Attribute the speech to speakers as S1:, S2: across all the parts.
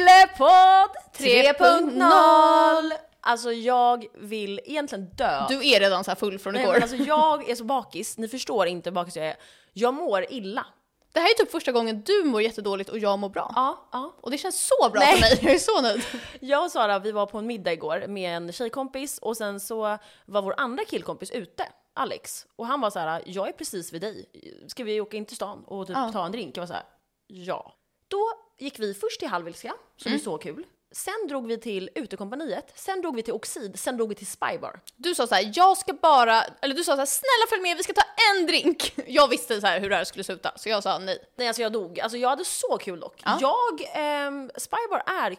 S1: Fyllepodd
S2: 3.0.
S1: Alltså jag vill egentligen dö.
S2: Du är redan så här full från
S1: Nej,
S2: igår.
S1: men alltså jag är så bakis, ni förstår inte hur bakis jag är. Jag mår illa.
S2: Det här är typ första gången du mår jättedåligt och jag mår bra.
S1: Ja, ja.
S2: Och det känns så bra
S1: Nej.
S2: för mig, jag är så nöjd.
S1: Jag och Sara vi var på en middag igår med en tjejkompis och sen så var vår andra killkompis ute, Alex. Och han var så här: jag är precis vid dig, ska vi åka in till stan och typ
S2: Ja.
S1: ta en drink? Jag var så här, ja. Då gick vi först till Hallwylska, som är så kul. Sen drog vi till utekompaniet, sen drog vi till Oxid, sen drog vi till Spybar.
S2: Du sa så här, jag ska bara, eller du sa så här, snälla följ med, vi ska ta en drink. Jag visste så här hur det här skulle sluta, så jag sa nej.
S1: Nej alltså jag dog, alltså jag hade så kul dock.
S2: Ja.
S1: Jag, ehm, Spybar är,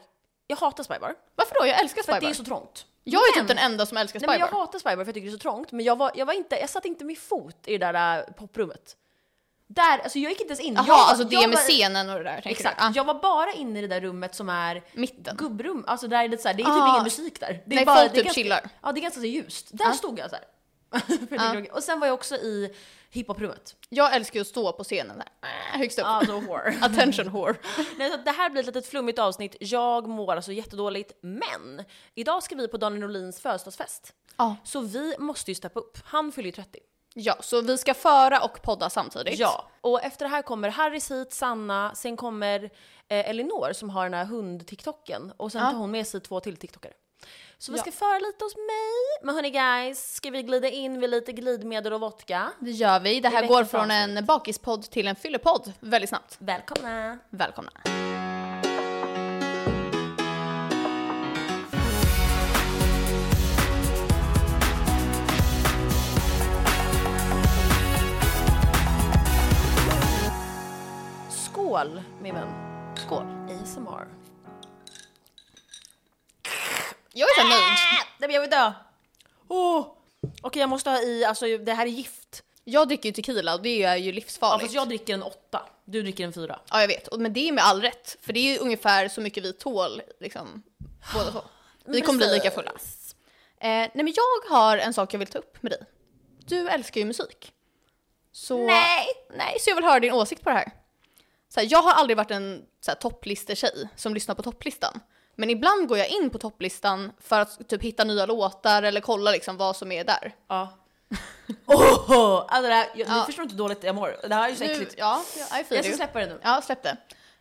S1: jag hatar Spybar.
S2: Varför då? Jag älskar
S1: För att det
S2: Spybar.
S1: är så trångt.
S2: Jag är
S1: Men-
S2: typ den enda som älskar
S1: Nej, men jag
S2: Spybar.
S1: hatar Spybar för jag tycker det är så trångt. Men jag, var, jag, var inte, jag satte inte min fot i det där äh, poprummet. Där, alltså jag gick inte ens in. jag,
S2: Jaha,
S1: var-
S2: alltså det
S1: jag
S2: med
S1: var-
S2: scenen och det där tänker
S1: Exakt,
S2: du? Ja.
S1: jag var bara inne i det där rummet som är
S2: Mitten.
S1: gubbrum. Alltså där är det, så här, det är typ
S2: Ah.
S1: ingen musik där. Det är
S2: Nej,
S1: bara,
S2: folk
S1: det är
S2: typ chillar. Ah.
S1: Ja, det är ganska så ljust. Där stod jag så här. För det är tråkigt. Och sen var jag också i hiphoprummet.
S2: Jag älskar ju att stå på scenen där, Äh, högst upp.
S1: Alltså horror.
S2: Attention whore.
S1: Nej, så att det här blir ett litet flummigt avsnitt. Jag mår alltså jättedåligt. Men idag ska vi på Daniel Norlins födelsedagsfest.
S2: Ja.
S1: Så vi måste ju steppa upp. Han fyller ju 30.
S2: ja, så vi ska föra och podda samtidigt.
S1: Ja, och efter det här kommer Harris hit, Sanna, sen kommer eh, Elinor som har den här hund-tiktoken och sen tar hon med sig två till tiktokare. Så vi
S2: Ja.
S1: ska föra lite hos mig. Men hörni guys, ska vi glida in vid lite glidmedel och vodka?
S2: Det gör vi. Det här
S1: I
S2: går
S1: veckans
S2: från en bakispodd till en fyllepodd väldigt snabbt.
S1: Välkomna!
S2: Välkomna.
S1: Skål min vän!
S2: Skål.
S1: ASMR.
S2: Jag är så här nöjd.
S1: Nej men jag vill dö! Oh. Okej jag måste ha i, alltså det här är gift.
S2: Jag dricker ju tequila och det är ju
S1: Ja,
S2: livsfarligt.
S1: fast jag dricker en åtta, du dricker en fyra.
S2: Ja, jag vet. Och- Men det är med all rätt. För det är ju ungefär så mycket vi tål, liksom, båda två. Vi kommer bli lika fulla. Eh, nej, men jag har en sak jag vill ta upp med dig. Du älskar ju musik. Så,
S1: Nej!
S2: Nej, så jag vill höra din åsikt på det här. Så här jag har aldrig varit en så här, topplistetjej som lyssnar på topplistan. Men ibland går jag in på topplistan för att typ hitta nya låtar eller kolla liksom vad som är där.
S1: Ja. Åh! Alltså det här, jag, ni
S2: Ja.
S1: förstår inte hur dåligt jag mår. Det här är ju så
S2: Nu,
S1: äckligt.
S2: ja, jag är
S1: Jag ska
S2: fin.
S1: släppa det nu.
S2: Ja, släpp det. Eh,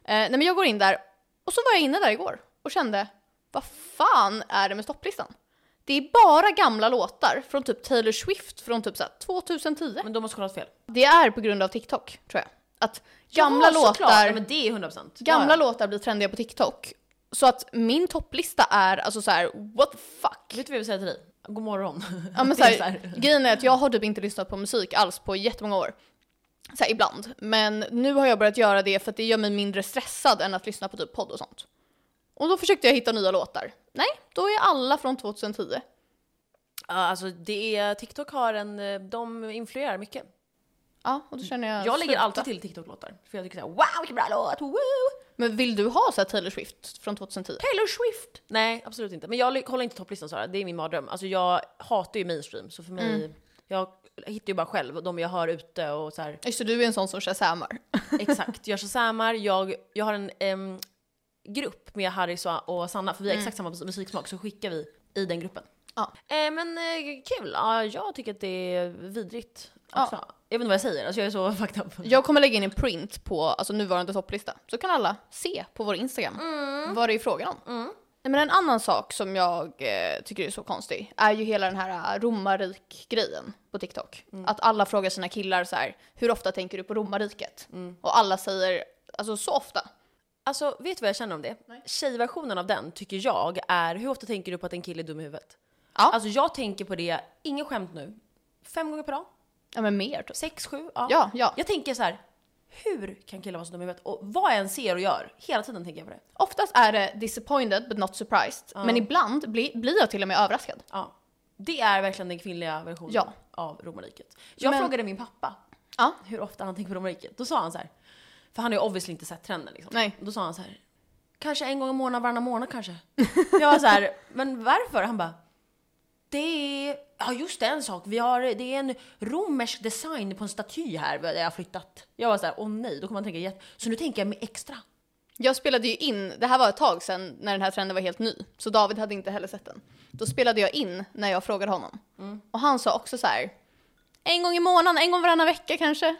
S2: nej men jag går in där och så var jag inne där igår och kände vad fan är det med topplistan? Det är bara gamla låtar från typ Taylor Swift från typ så här 2010.
S1: Men de måste kollat fel.
S2: Det är på grund av TikTok tror jag. Att gamla
S1: Ja, såklart.
S2: låtar,
S1: Ja, men det är 100%.
S2: gamla
S1: ja,
S2: låtar blir trendiga på TikTok. Så att min topplista är alltså så här what the
S1: ja.
S2: fuck?
S1: Vet du vad jag vill säga till dig? God morgon.
S2: Ja, men
S1: Det
S2: så
S1: är så
S2: här,
S1: här.
S2: grejen är att jag har typ inte lyssnat på musik alls på jättemånga år. Så här, ibland. Men nu har jag börjat göra det för att det gör mig mindre stressad än att lyssna på typ podd och sånt. Och då försökte jag hitta nya låtar. Nej, då är alla från 2010.
S1: Ja, alltså det är, TikTok har en, eh, de influerar mycket.
S2: Ja, och då känner jag...
S1: Jag lägger
S2: sluta.
S1: alltid till TikTok-låtar. För jag tycker såhär wow vilken bra låt, woo!
S2: Men vill du ha så här Taylor Swift från 2010?
S1: Taylor Swift! Nej absolut inte. Men jag ly- kollar inte topplistan Sara, det är min mardröm. Alltså jag hatar ju mainstream så för mig, jag hittar ju bara själv de jag hör ute och så här.
S2: Just det, du är en sån som shazammar.
S1: Exakt, jag shazammar, jag, jag har en em, grupp med Harris och, och Sanna, för vi har exakt samma mus- musiksmak, så skickar vi i den gruppen.
S2: Ja.
S1: Eh, men eh, kul, ja, jag tycker att det är vidrigt också. Jag vet inte vad jag säger, alltså jag är så fucked up.
S2: Jag kommer lägga in en print på alltså, nuvarande topplista. Så kan alla se på vår Instagram vad det är frågan om. Nej, men en annan sak som jag eh, tycker är så konstig är ju hela den här eh, romarrik-grejen på TikTok. Att alla frågar sina killar så här, hur ofta tänker du på romarriket? Och alla säger, alltså så ofta.
S1: Alltså vet du vad jag känner om det? Tjejversionen av den tycker jag är, hur ofta tänker du på att en kille är dum i huvudet?
S2: Ja.
S1: Alltså jag tänker på det, ingen skämt nu, fem gånger per dag,
S2: Ja men mer typ.
S1: sex, sju, ja.
S2: Ja, ja.
S1: Jag tänker så här. hur kan killar vara så dumma i huvudet? Och vad jag än ser och gör, hela tiden tänker jag på det.
S2: Oftast är det disappointed but not surprised. Men ibland bli, blir jag till och med överraskad.
S1: Ja. Det är verkligen den kvinnliga versionen
S2: Ja.
S1: av romarriket. Jag
S2: Men-
S1: frågade min pappa
S2: Ja.
S1: hur ofta han tänker på romarriket. Då sa han så här, för han har ju obviously inte sett trenden liksom.
S2: Nej.
S1: Då sa han så här, kanske en gång i månaden, varannan månad kanske. Jag var så här, men varför? Han bara, det är, ja just det, en sak. Vi har, det är en romersk design på en staty här där jag har flyttat. Jag var så här, åh nej, då kommer han tänka jätte... Så nu tänker jag med extra.
S2: Jag spelade ju in, det här var ett tag sedan när den här trenden var helt ny, så David hade inte heller sett den. Då spelade jag in när jag frågade honom.
S1: Mm.
S2: Och han sa också så här, en gång i månaden, en gång varannan vecka kanske.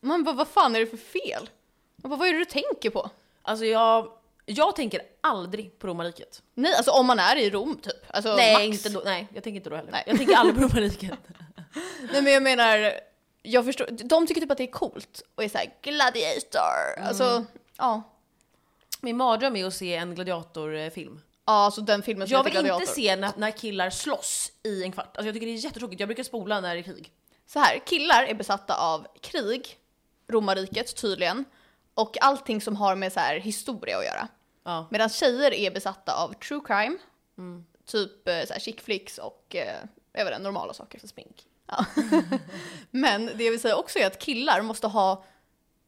S2: Man bara, vad fan är det för fel? Man bara, vad är det du tänker på?
S1: Alltså jag, jag tänker aldrig på romarriket.
S2: Nej, alltså om man är i Rom typ. Alltså, max.
S1: nej, inte då, nej, jag tänker inte då heller.
S2: Nej.
S1: Jag tänker aldrig på romarriket.
S2: Nej men jag menar, jag förstår, de tycker typ att det är coolt och är såhär gladiator.
S1: Mm.
S2: Alltså, ja.
S1: Min mardröm är att se en gladiatorfilm.
S2: Ja, alltså den filmen som
S1: Jag
S2: heter
S1: vill
S2: gladiator.
S1: inte se när, när killar slåss i en kvart. Alltså jag tycker det är jättetråkigt, jag brukar spola när det är krig.
S2: Så här, killar är besatta av krig, romarriket tydligen, och allting som har med så här historia att göra.
S1: Ja.
S2: Medan tjejer är besatta av true crime, typ eh, så här chick flicks och eh, jag vet inte, normala saker.
S1: Smink.
S2: Ja. Men det jag vill säga också är att killar måste ha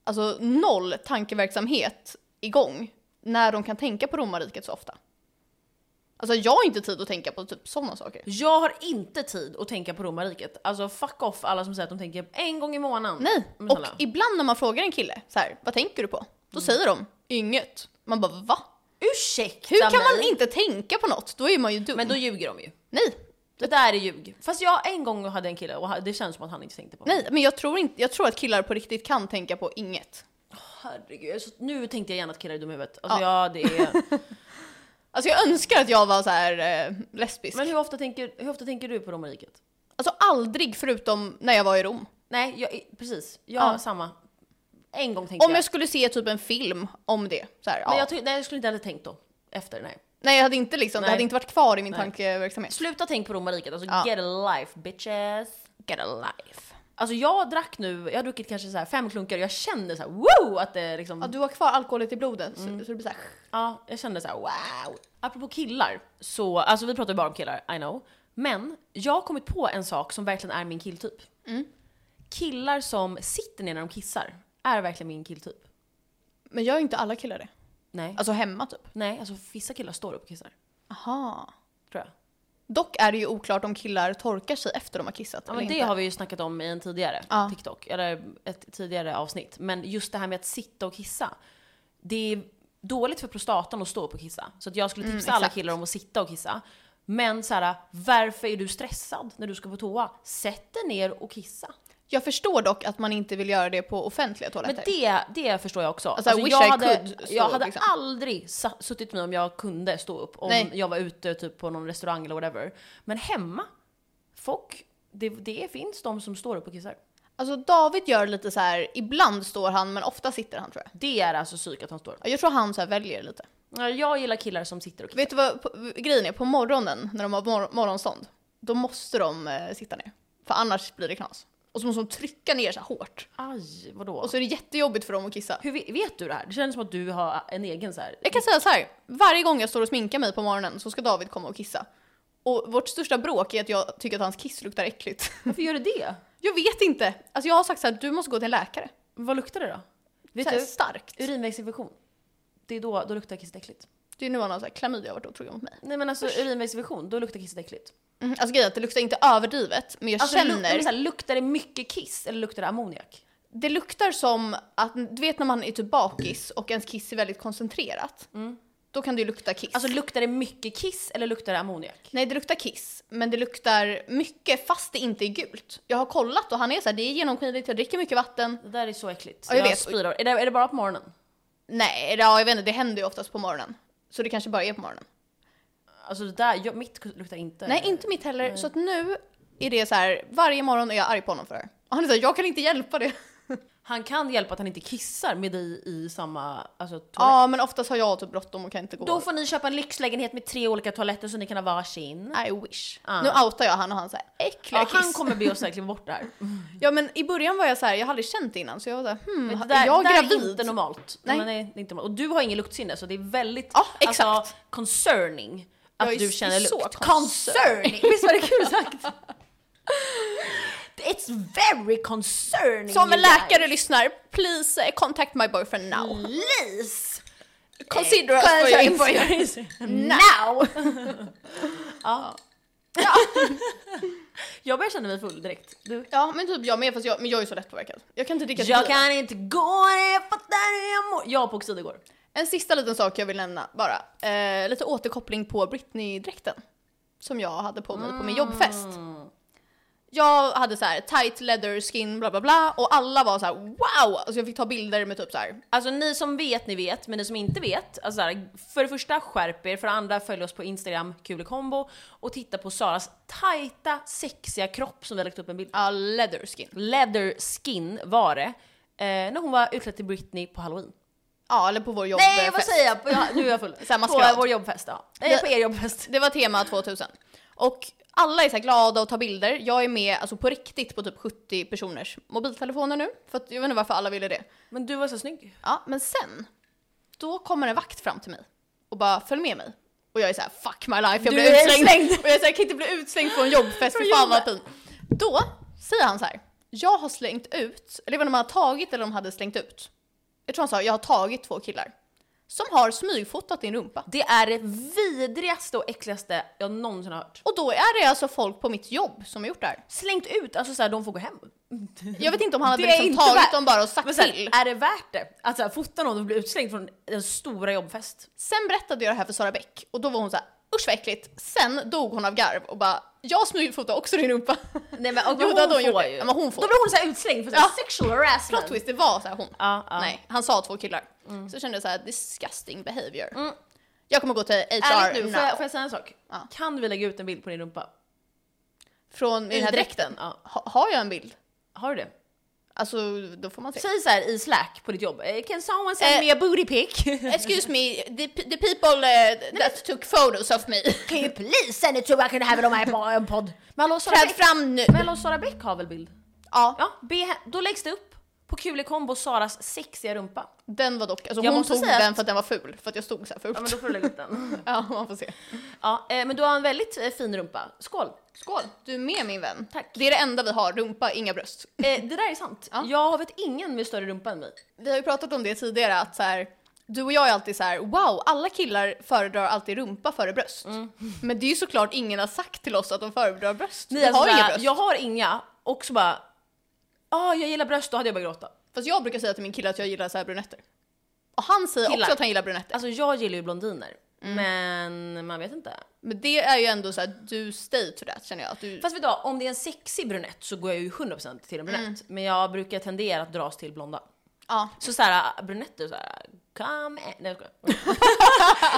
S2: alltså, noll tankeverksamhet igång när de kan tänka på romarriket så ofta. Alltså jag har inte tid att tänka på typ sådana saker.
S1: Jag har inte tid att tänka på romarriket. Alltså fuck off alla som säger att de tänker en gång i månaden.
S2: Nej,
S1: Men
S2: och
S1: snälla.
S2: ibland när man frågar en kille så här, vad tänker du på? Då säger de Mm. inget. Man bara va?
S1: Ursäkta
S2: Hur kan
S1: mig.
S2: man inte tänka på något? Då är man ju dum.
S1: Men då ljuger de ju.
S2: nej,
S1: Det där är ljug. Fast jag en gång hade en kille och det känns som att han inte tänkte på mig.
S2: nej, men jag tror, inte, jag tror att killar på riktigt kan tänka på inget.
S1: Herregud, jag är så- nu tänkte jag gärna att killar är dumma i huvudet. Alltså ja. det är...
S2: Alltså jag önskar att jag var så här eh, lesbisk.
S1: Men hur ofta tänker, hur ofta tänker du på romarriket?
S2: Alltså aldrig förutom när jag var i Rom.
S1: Nej, jag, precis. Jag
S2: Ja.
S1: samma. En gång tänkte
S2: Om jag skulle se typ en film om det. Så här,
S1: Men
S2: ja.
S1: jag, ty- nej, jag skulle inte heller tänkt då. Efter, nej.
S2: Nej jag hade inte liksom, det
S1: Nej.
S2: hade inte varit kvar i min
S1: Nej.
S2: tankeverksamhet.
S1: Sluta tänk på romarriket, alltså
S2: Ja.
S1: get a life bitches.
S2: Get a life.
S1: Alltså jag drack nu, jag har druckit kanske så här fem klunkar och jag kände så här wow! Att det liksom,
S2: Ja, du har kvar alkoholet i blodet så, så det blir såhär...
S1: ja, jag kände så här wow! Apropå killar, så, alltså vi pratar ju bara om killar, I know. Men jag har kommit på en sak som verkligen är min killtyp.
S2: Mm.
S1: Killar som sitter ner när de kissar är verkligen min killtyp.
S2: Men gör inte alla killar det?
S1: Nej,
S2: Alltså hemma typ?
S1: nej, alltså vissa killar står upp och kissar,
S2: Aha.
S1: tror jag.
S2: Dock är det ju oklart om killar torkar sig efter de har kissat
S1: Ja,
S2: eller
S1: men det
S2: inte.
S1: har vi ju snackat om i en tidigare
S2: Ja.
S1: TikTok, eller ett tidigare avsnitt. Men just det här med att sitta och kissa. Det är dåligt för prostatan att stå upp och kissa. Så att jag skulle tipsa alla
S2: Mm, exakt.
S1: killar om att sitta och kissa. Men så här, varför är du stressad när du ska på toa? Sätt dig ner och kissa.
S2: Jag förstår dock att man inte vill göra det på offentliga
S1: Men
S2: toaletter.
S1: det, det förstår jag också.
S2: Alltså, I wish
S1: jag
S2: I
S1: hade,
S2: could stå
S1: jag
S2: upp,
S1: hade
S2: liksom.
S1: aldrig sa, suttit med om jag kunde stå upp. Om
S2: Nej.
S1: jag var ute typ, på någon restaurang eller whatever. Men hemma, folk, det, det finns de som står upp och kissar.
S2: Alltså David gör lite så här. ibland står han men ofta sitter han tror jag.
S1: Det är alltså psyk att han står.
S2: Ja, Jag tror han så här väljer lite.
S1: Ja, Jag gillar killar som sitter och kissar.
S2: Vet du vad på, grejen är? På morgonen när de har mor- morgonstånd, då måste de eh, sitta ner. För annars blir det knas. Och så måste de trycka ner så här hårt.
S1: Aj, vadå?
S2: Och så är det jättejobbigt för dem att kissa.
S1: Hur ve- vet du det här? Det känns som att du har en egen så här.
S2: Jag kan säga så här, varje gång jag står och sminkar mig på morgonen så ska David komma och kissa. Och vårt största bråk är att jag tycker att hans kiss luktar äckligt.
S1: Varför gör du det?
S2: Jag vet inte! Alltså jag har sagt så här, du måste gå till en läkare.
S1: Vad luktar det då? Vet
S2: så här,
S1: du?
S2: starkt.
S1: Urinvägsinfektion. Det är då, då luktar kisset äckligt.
S2: Det är nu han har så här, klamydia har varit otrogen mot mig.
S1: Nej men alltså urinvägsinfektion, då luktar kisset äckligt.
S2: Mm. Alltså grejen är att det luktar inte överdrivet, men jag
S1: Alltså, lu-
S2: känner...
S1: men så här, luktar det mycket kiss eller luktar det ammoniak?
S2: Det luktar som att, du vet när man är typ bakis och ens kiss är väldigt koncentrerat. Då kan det ju lukta kiss.
S1: Alltså luktar det mycket kiss eller luktar det ammoniak?
S2: Nej, det luktar kiss, men det luktar mycket fast det inte är gult. Jag har kollat och han är så här, det är genomskinligt, jag dricker mycket vatten.
S1: Det där är så äckligt.
S2: Ja, jag vet.
S1: spyr av- är, det, är det bara på morgonen?
S2: Nej, ja, jag vet inte, det händer ju oftast på morgonen. Så det kanske bara är på morgonen.
S1: Alltså det där, jag, mitt luktar inte.
S2: Nej, inte mitt heller. Så att nu är det så här, varje morgon är jag arg på honom för det här. Och han är så här, jag kan inte hjälpa det.
S1: Han kan hjälpa att han inte kissar med dig i samma alltså, toalett.
S2: Ja, men oftast har jag typ bråttom och kan inte gå.
S1: Då får ni köpa en lyxlägenhet med tre olika toaletter så ni kan ha varsin.
S2: I wish.
S1: Ja.
S2: Nu outar jag han och han säger äckliga
S1: Ja,
S2: kiss.
S1: han kommer be oss verkligen bort där.
S2: Ja men i början var jag så här, jag hade aldrig känt det innan så jag var så här, hmm,
S1: Men det
S2: är
S1: där,
S2: jag
S1: det där
S2: gravid?
S1: är inte normalt.
S2: Nej.
S1: Men nej, det är inte normalt. Och du har ingen luktsinne så det är väldigt alltså,
S2: Ja, exakt.
S1: concerning att
S2: Jag är
S1: du
S2: s-
S1: känner
S2: så
S1: lukt.
S2: concerning.
S1: Visst var det kul sagt? It's very concerning.
S2: Så om en
S1: you guys.
S2: läkare lyssnar, please eh, contact my boyfriend
S1: Mm.
S2: now.
S1: Please!
S2: Consider us for your info.
S1: now! ja. Jag börjar känna mig full direkt. Du?
S2: Ja men typ jag med fast jag, men jag är så lättpåverkad. Jag kan inte dricka
S1: Jag
S2: tequila.
S1: kan inte gå ner för där jag mår. Jag var på Oxid igår.
S2: En sista liten sak jag vill nämna bara. Eh, lite återkoppling på Britney-dräkten. Som jag hade på mig på min jobbfest.
S1: Mm.
S2: Jag hade så här tight leather skin bla bla bla och alla var så här wow! Alltså jag fick ta bilder med typ så här.
S1: Alltså ni som vet, ni vet, men ni som inte vet, alltså så här, för det första skärp er, för det andra följ oss på Instagram, kulekombo, och titta på Saras tajta, sexiga kropp som vi har lagt upp en bild på.
S2: Ja, leather skin.
S1: Leather skin var det, eh, när hon var utklädd till Britney på halloween.
S2: Ja, eller på vår jobbfest.
S1: Nej vad säger jag? På- ja, Nu är jag full.
S2: Så här
S1: på
S2: maskerad.
S1: vår jobbfest ja. Nej, på er jobbfest.
S2: Det var tema 2000. Och alla är så här glada och tar bilder. Jag är med alltså på riktigt på typ 70 personers mobiltelefoner nu. För att jag vet inte varför alla ville det.
S1: Men du var så snygg.
S2: Ja, men sen, då kommer en vakt fram till mig och bara följ med mig. Och jag är så här: fuck my life, jag
S1: Du
S2: blir
S1: är
S2: utslängd. Och jag, är så här, jag kan inte bli utslängd från jobbfest,
S1: Från
S2: för fan vad pin. Då säger han så här. jag har slängt ut, eller jag vet inte om han har tagit eller om han hade slängt ut. Jag tror han sa, jag har tagit två killar. Som har smygfotat din rumpa.
S1: Det är det vidrigaste och äckligaste jag någonsin har hört.
S2: Och då är det alltså folk på mitt jobb som har gjort det här.
S1: Slängt ut, alltså såhär de får gå hem.
S2: Jag vet inte om han hade
S1: Det är
S2: liksom
S1: inte
S2: tagit
S1: värt-
S2: dem bara och sagt
S1: Men så här,
S2: till.
S1: är det värt det? Att så här, fota någon och bli utslängd från en stora jobbfest?
S2: Sen berättade jag det här för Sara Bäck och då var hon så här, usch vad äckligt. Sen dog hon av garv och bara, jag smygfotar också din rumpa.
S1: Nej men och,
S2: Jo,
S1: hon,
S2: det hade hon
S1: får
S2: gjort.
S1: ju.
S2: Ja, men hon får.
S1: Då blir hon såhär utslängd för
S2: Ja.
S1: ja. sexual harassment.
S2: Plot twist, det var så här hon.
S1: Ja, Mm. ja.
S2: Nej, han sa två killar. Så kände jag så här, disgusting behavior. Jag kommer gå till HR
S1: Mm. Ärligt nu,
S2: now.
S1: får jag, får jag säga en sak?
S2: Ja.
S1: Kan vi lägga ut en bild på din rumpa?
S2: Från den
S1: I
S2: här
S1: dräkten,
S2: dräkten?
S1: ja.
S2: Ha, har jag en bild?
S1: Har du det?
S2: Alltså, då får man se.
S1: Säg såhär i slack på ditt jobb, eh, can someone send
S2: Eh.
S1: me a booty pic?
S2: Excuse me, the, the people eh, that took photos of me.
S1: can you please send it to I can have it on my po- pod? Men hallå Sara
S2: Träd
S1: Bäck,
S2: fram nu.
S1: men hallå, Sara Bäck har väl bild?
S2: Ja,
S1: Ja, be, he- då läggs det upp på Kulekombo Saras sexiga rumpa.
S2: den var dock, alltså
S1: Jag
S2: hon
S1: måste
S2: tog
S1: säga
S2: den för att den var ful. För att jag stod så här fult.
S1: Ja men då får du lägga upp den.
S2: Ja, man får se.
S1: Ja, eh, men du har en väldigt eh, fin rumpa. Skål!
S2: Skål! Du är med min vän.
S1: Tack.
S2: Det är det enda vi har, rumpa, inga bröst.
S1: Eh, det där är sant.
S2: Ja.
S1: Jag vet ingen med större rumpa än mig.
S2: Vi har ju pratat om det tidigare att så här, du och jag är alltid så här: wow, alla killar föredrar alltid rumpa före bröst.
S1: Mm.
S2: Men det är ju såklart ingen har sagt till oss att de föredrar bröst.
S1: Ni
S2: vi har
S1: alltså,
S2: inga
S1: såhär,
S2: bröst.
S1: Jag har inga, och så bara... ah jag gillar bröst, då hade jag börjat gråta.
S2: Fast jag brukar säga till min kille att jag gillar så här brunetter. Och han säger
S1: Killar.
S2: också att han gillar brunetter.
S1: Alltså jag gillar ju blondiner,
S2: Mm.
S1: men man vet inte.
S2: Men det är ju ändå så här, du stay to that känner jag. Att du...
S1: Fast vet du vad, om det är en sexig brunett så går jag ju 100% till en brunett.
S2: Mm.
S1: Men jag brukar tendera att dras till blonda.
S2: ja.
S1: Så såhär, brunetter såhär, come in. Nej jag skojar.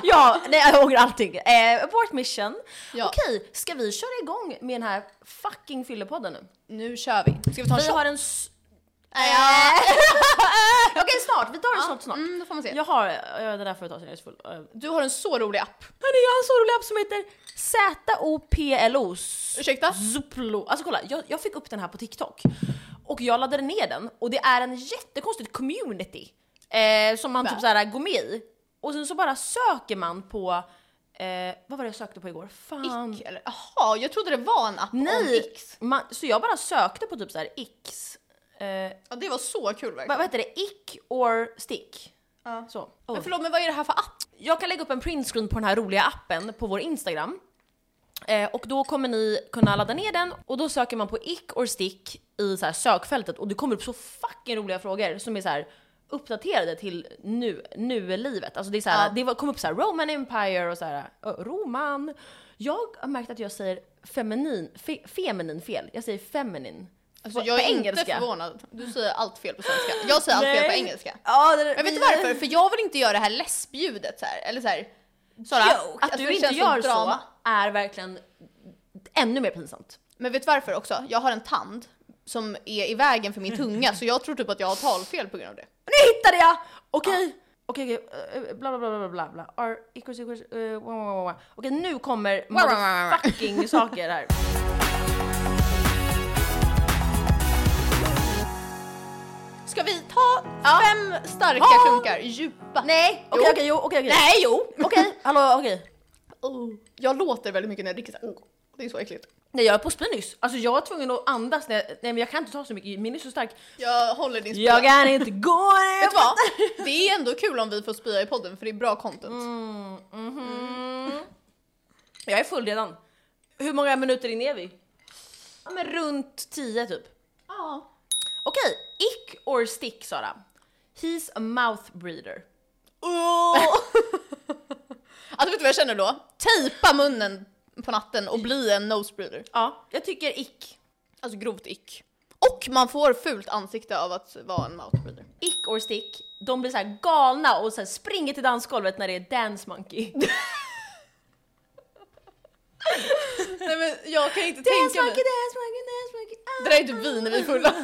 S1: Ja, nej jag ångrar allting. Eh, abort mission.
S2: Ja.
S1: Okej, ska vi köra igång med den här fucking fyllepodden nu?
S2: Nu kör vi. Ska vi ta en
S1: Vi
S2: shot?
S1: har en... s-
S2: Ja.
S1: Eh. Okej snart, vi tar en shot snart.
S2: Mm, då får man se.
S1: Jag har, jag, det där får jag ta sen jag är så full. Eh,
S2: Du har en så rolig app.
S1: Hörni, jag har en så rolig app som heter Z-O-P-L-O.
S2: Ursäkta?
S1: Zuplo. Alltså kolla, jag, jag fick upp den här på TikTok. Och jag laddade ner den och det är en jättekonstigt community. Eh, som man
S2: Va?
S1: typ såhär går med i. Och sen så bara söker man på, eh, vad var det jag sökte på igår? Fan.
S2: Ick, eller? Jaha, jag trodde det var en app om
S1: Nej!
S2: X.
S1: Man, så jag bara sökte på typ såhär X, eh,
S2: Ja, det var så kul verkligen.
S1: vad, vad heter det? Ick or stick.
S2: Ja.
S1: Så.
S2: Men förlåt, men vad är det här för app?
S1: Jag kan lägga upp en printscreen på den här roliga appen på vår Instagram. Eh, och då kommer ni kunna ladda ner den och då söker man på ick or stick i så här sökfältet och det kommer upp så fucking roliga frågor som är så här uppdaterade till nu, nu livet. Alltså det, är så här,
S2: Ja.
S1: det var- kom upp så här Roman Empire och så här ö, Roman. Jag har märkt att jag säger feminin, fe, feminin fel. Jag säger feminin.
S2: Alltså,
S1: På-
S2: jag
S1: på
S2: är inte förvånad. Du säger allt fel på svenska. Jag säger allt fel på
S1: Nej.
S2: engelska.
S1: Ja, det,
S2: Men vet du varför? För jag vill inte göra det här lesbljudet så här. Eller så här. Sara,
S1: Att
S2: alltså,
S1: du
S2: det
S1: inte
S2: känns
S1: gör
S2: som drama.
S1: så är verkligen ännu mer pinsamt.
S2: Men vet du varför också? Jag har en tand som är i vägen för min tunga så jag tror typ att jag har talfel på grund av det.
S1: Nu hittade jag! Okej, okej, okej, eh, bla bla bla bla bla bla. Are equals equals, eh, wa, wa, wa, wa. Okej, nu kommer
S2: Wa, wa, wa, wa, wa.
S1: motherfucking saker här.
S2: Ska vi ta fem starka
S1: Ja.
S2: klunkar djupa?
S1: Nej,
S2: Jo.
S1: okej, okej, jo, okej, okej.
S2: Nej, jo!
S1: Okej, hallå, okej.
S2: Oh. Jag låter väldigt mycket när jag dricker så här. Oh. Det är så äckligt.
S1: Nej, jag är på spy nyss. Alltså jag var tvungen att andas när jag, nej men jag kan inte ta så mycket, min är så stark.
S2: Jag håller din spya.
S1: Jag kan inte gå ner.
S2: Vet du vad? Det är ändå kul om vi får spya i podden för det är bra content.
S1: Jag är full redan. Hur många minuter in är vi? Ja men runt 10 typ.
S2: Ja.
S1: Okej, ick or stick Sara. He's a mouth breather. Åh!
S2: Alltså vet du vad jag känner då? Tejpa munnen på natten och bli en nosebreeder.
S1: ja, jag tycker ick.
S2: Alltså grovt ick. Och man får fult ansikte av att vara en mouthbreeder.
S1: Ick or stick. De blir så här galna och så här springer till dansgolvet när det är dance monkey.
S2: Nej men jag kan inte
S1: Dance monkey, dance monkey, dance monkey. Ah.
S2: Det där är typ vi när vi är fulla.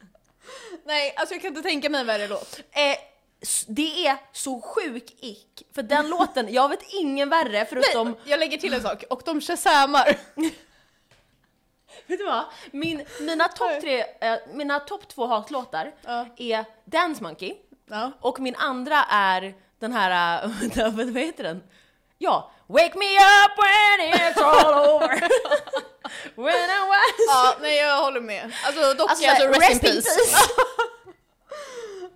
S2: Nej, alltså jag kan inte tänka mig en värre låt.
S1: Eh, s- det är så sjuk ick. För den låten, jag vet ingen värre förutom...
S2: Nej, jag lägger till en sak, och de shazamar.
S1: Vet du vad? Min, mina topp tre, eh, mina topp två hatlåtar
S2: Ja.
S1: är Dance Monkey
S2: Ja.
S1: och min andra är den här, eh, vänta, vad heter den? Ja, Wake me up when it's all over When I was...
S2: ja, nej jag håller med. Alltså dock,
S1: Alltså,
S2: alltså,
S1: såhär,
S2: rest, in peace.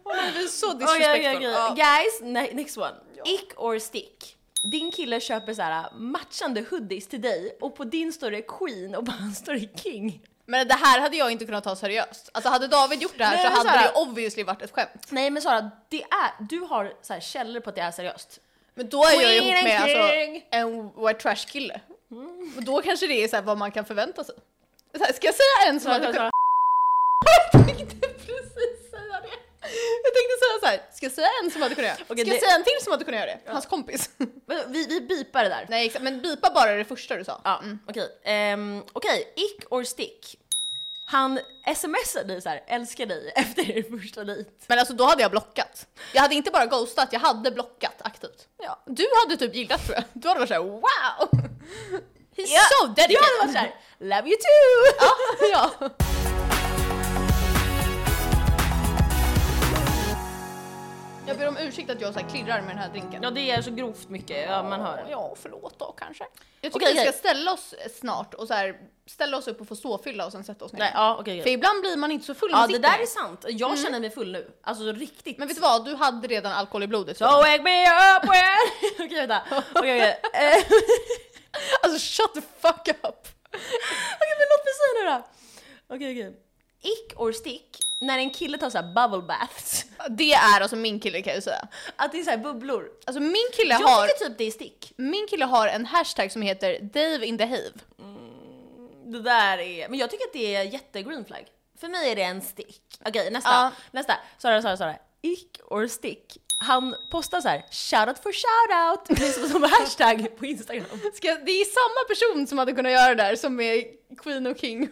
S2: Men vi är så
S1: Oj, oj, oj,
S2: disrespectful.
S1: oj.
S2: Ja.
S1: Guys, ne- next one. Ick or stick. Din kille köper så här äh, matchande hoodies till dig och på din står det Queen och på hans står det King.
S2: Men det här hade jag inte kunnat ta seriöst. Alltså hade David gjort det här
S1: Nej,
S2: så
S1: men
S2: hade
S1: så här-
S2: det obviously varit ett skämt.
S1: Nej men Sara, det är, du har så här källor på att det är seriöst.
S2: Men då är jag
S1: Queen
S2: ihop med
S1: and
S2: alltså,
S1: king.
S2: en white trash kille.
S1: Mm.
S2: Och då kanske det är så här, vad man kan förvänta sig. Så här, ska jag säga en
S1: Sara,
S2: som hade
S1: Sara, Sara.
S2: Jag tänkte precis säga det. Jag tänkte säga så här, ska jag säga en som hade kunnat göra det? Ska
S1: Okej,
S2: jag
S1: det-
S2: säga en till som hade kunnat göra det? Hans kompis.
S1: Vadå, Vi, vi bipar det där.
S2: Nej exakt, men bipa bara det första du sa.
S1: Ja, okej. Ehm, okej, ick or stick. Han smsar dig så här, älskar dig efter er första dejt.
S2: Men alltså då hade jag blockat. Jag hade inte bara ghostat, jag hade blockat aktivt.
S1: Ja.
S2: Du hade typ gillat tror jag. Du hade varit såhär wow! He's
S1: Ja,
S2: so dedicated!
S1: Jag hade varit såhär, love you too!
S2: Ja, ja. Jag ber om ursäkt att jag så här klirrar med den här drinken.
S1: Ja det är så grovt mycket, ja, man hör.
S2: Ja, förlåt då kanske. Jag tycker
S1: Okej,
S2: vi ska
S1: okej.
S2: ställa oss eh, snart och så här, ställa oss upp och få ståfylla och sen sätta oss ner.
S1: Nej, ja, okej.
S2: För
S1: okej.
S2: ibland blir man inte så full
S1: ja
S2: man
S1: det
S2: sitter
S1: där
S2: ner.
S1: är sant, jag känner mig full nu. Alltså riktigt.
S2: Men vet du vad, du hade redan alkohol i blodet.
S1: So wake me up when... Okej vänta. Okej, okej. Eh,
S2: Alltså shut the fuck up!
S1: Okej men låt mig säga nu då. Okej okej. Ick or stick, när en kille tar såhär bubble baths.
S2: Det är alltså min kille kan jag ju säga.
S1: Att det är såhär bubblor.
S2: Alltså min kille,
S1: Jag
S2: har,
S1: tycker typ det är stick.
S2: min kille har en hashtag som heter Dave in the Have.
S1: Det där är... Men jag tycker att det är jättegreen flag. För mig är det en stick. Okej nästa.
S2: Ja.
S1: Nästa. Sara, Sara, Sara. Ick or stick. Han postar så här shoutout for shoutout liksom som hashtag på Instagram.
S2: Ska, det är samma person som hade kunnat göra det där som är Queen och King.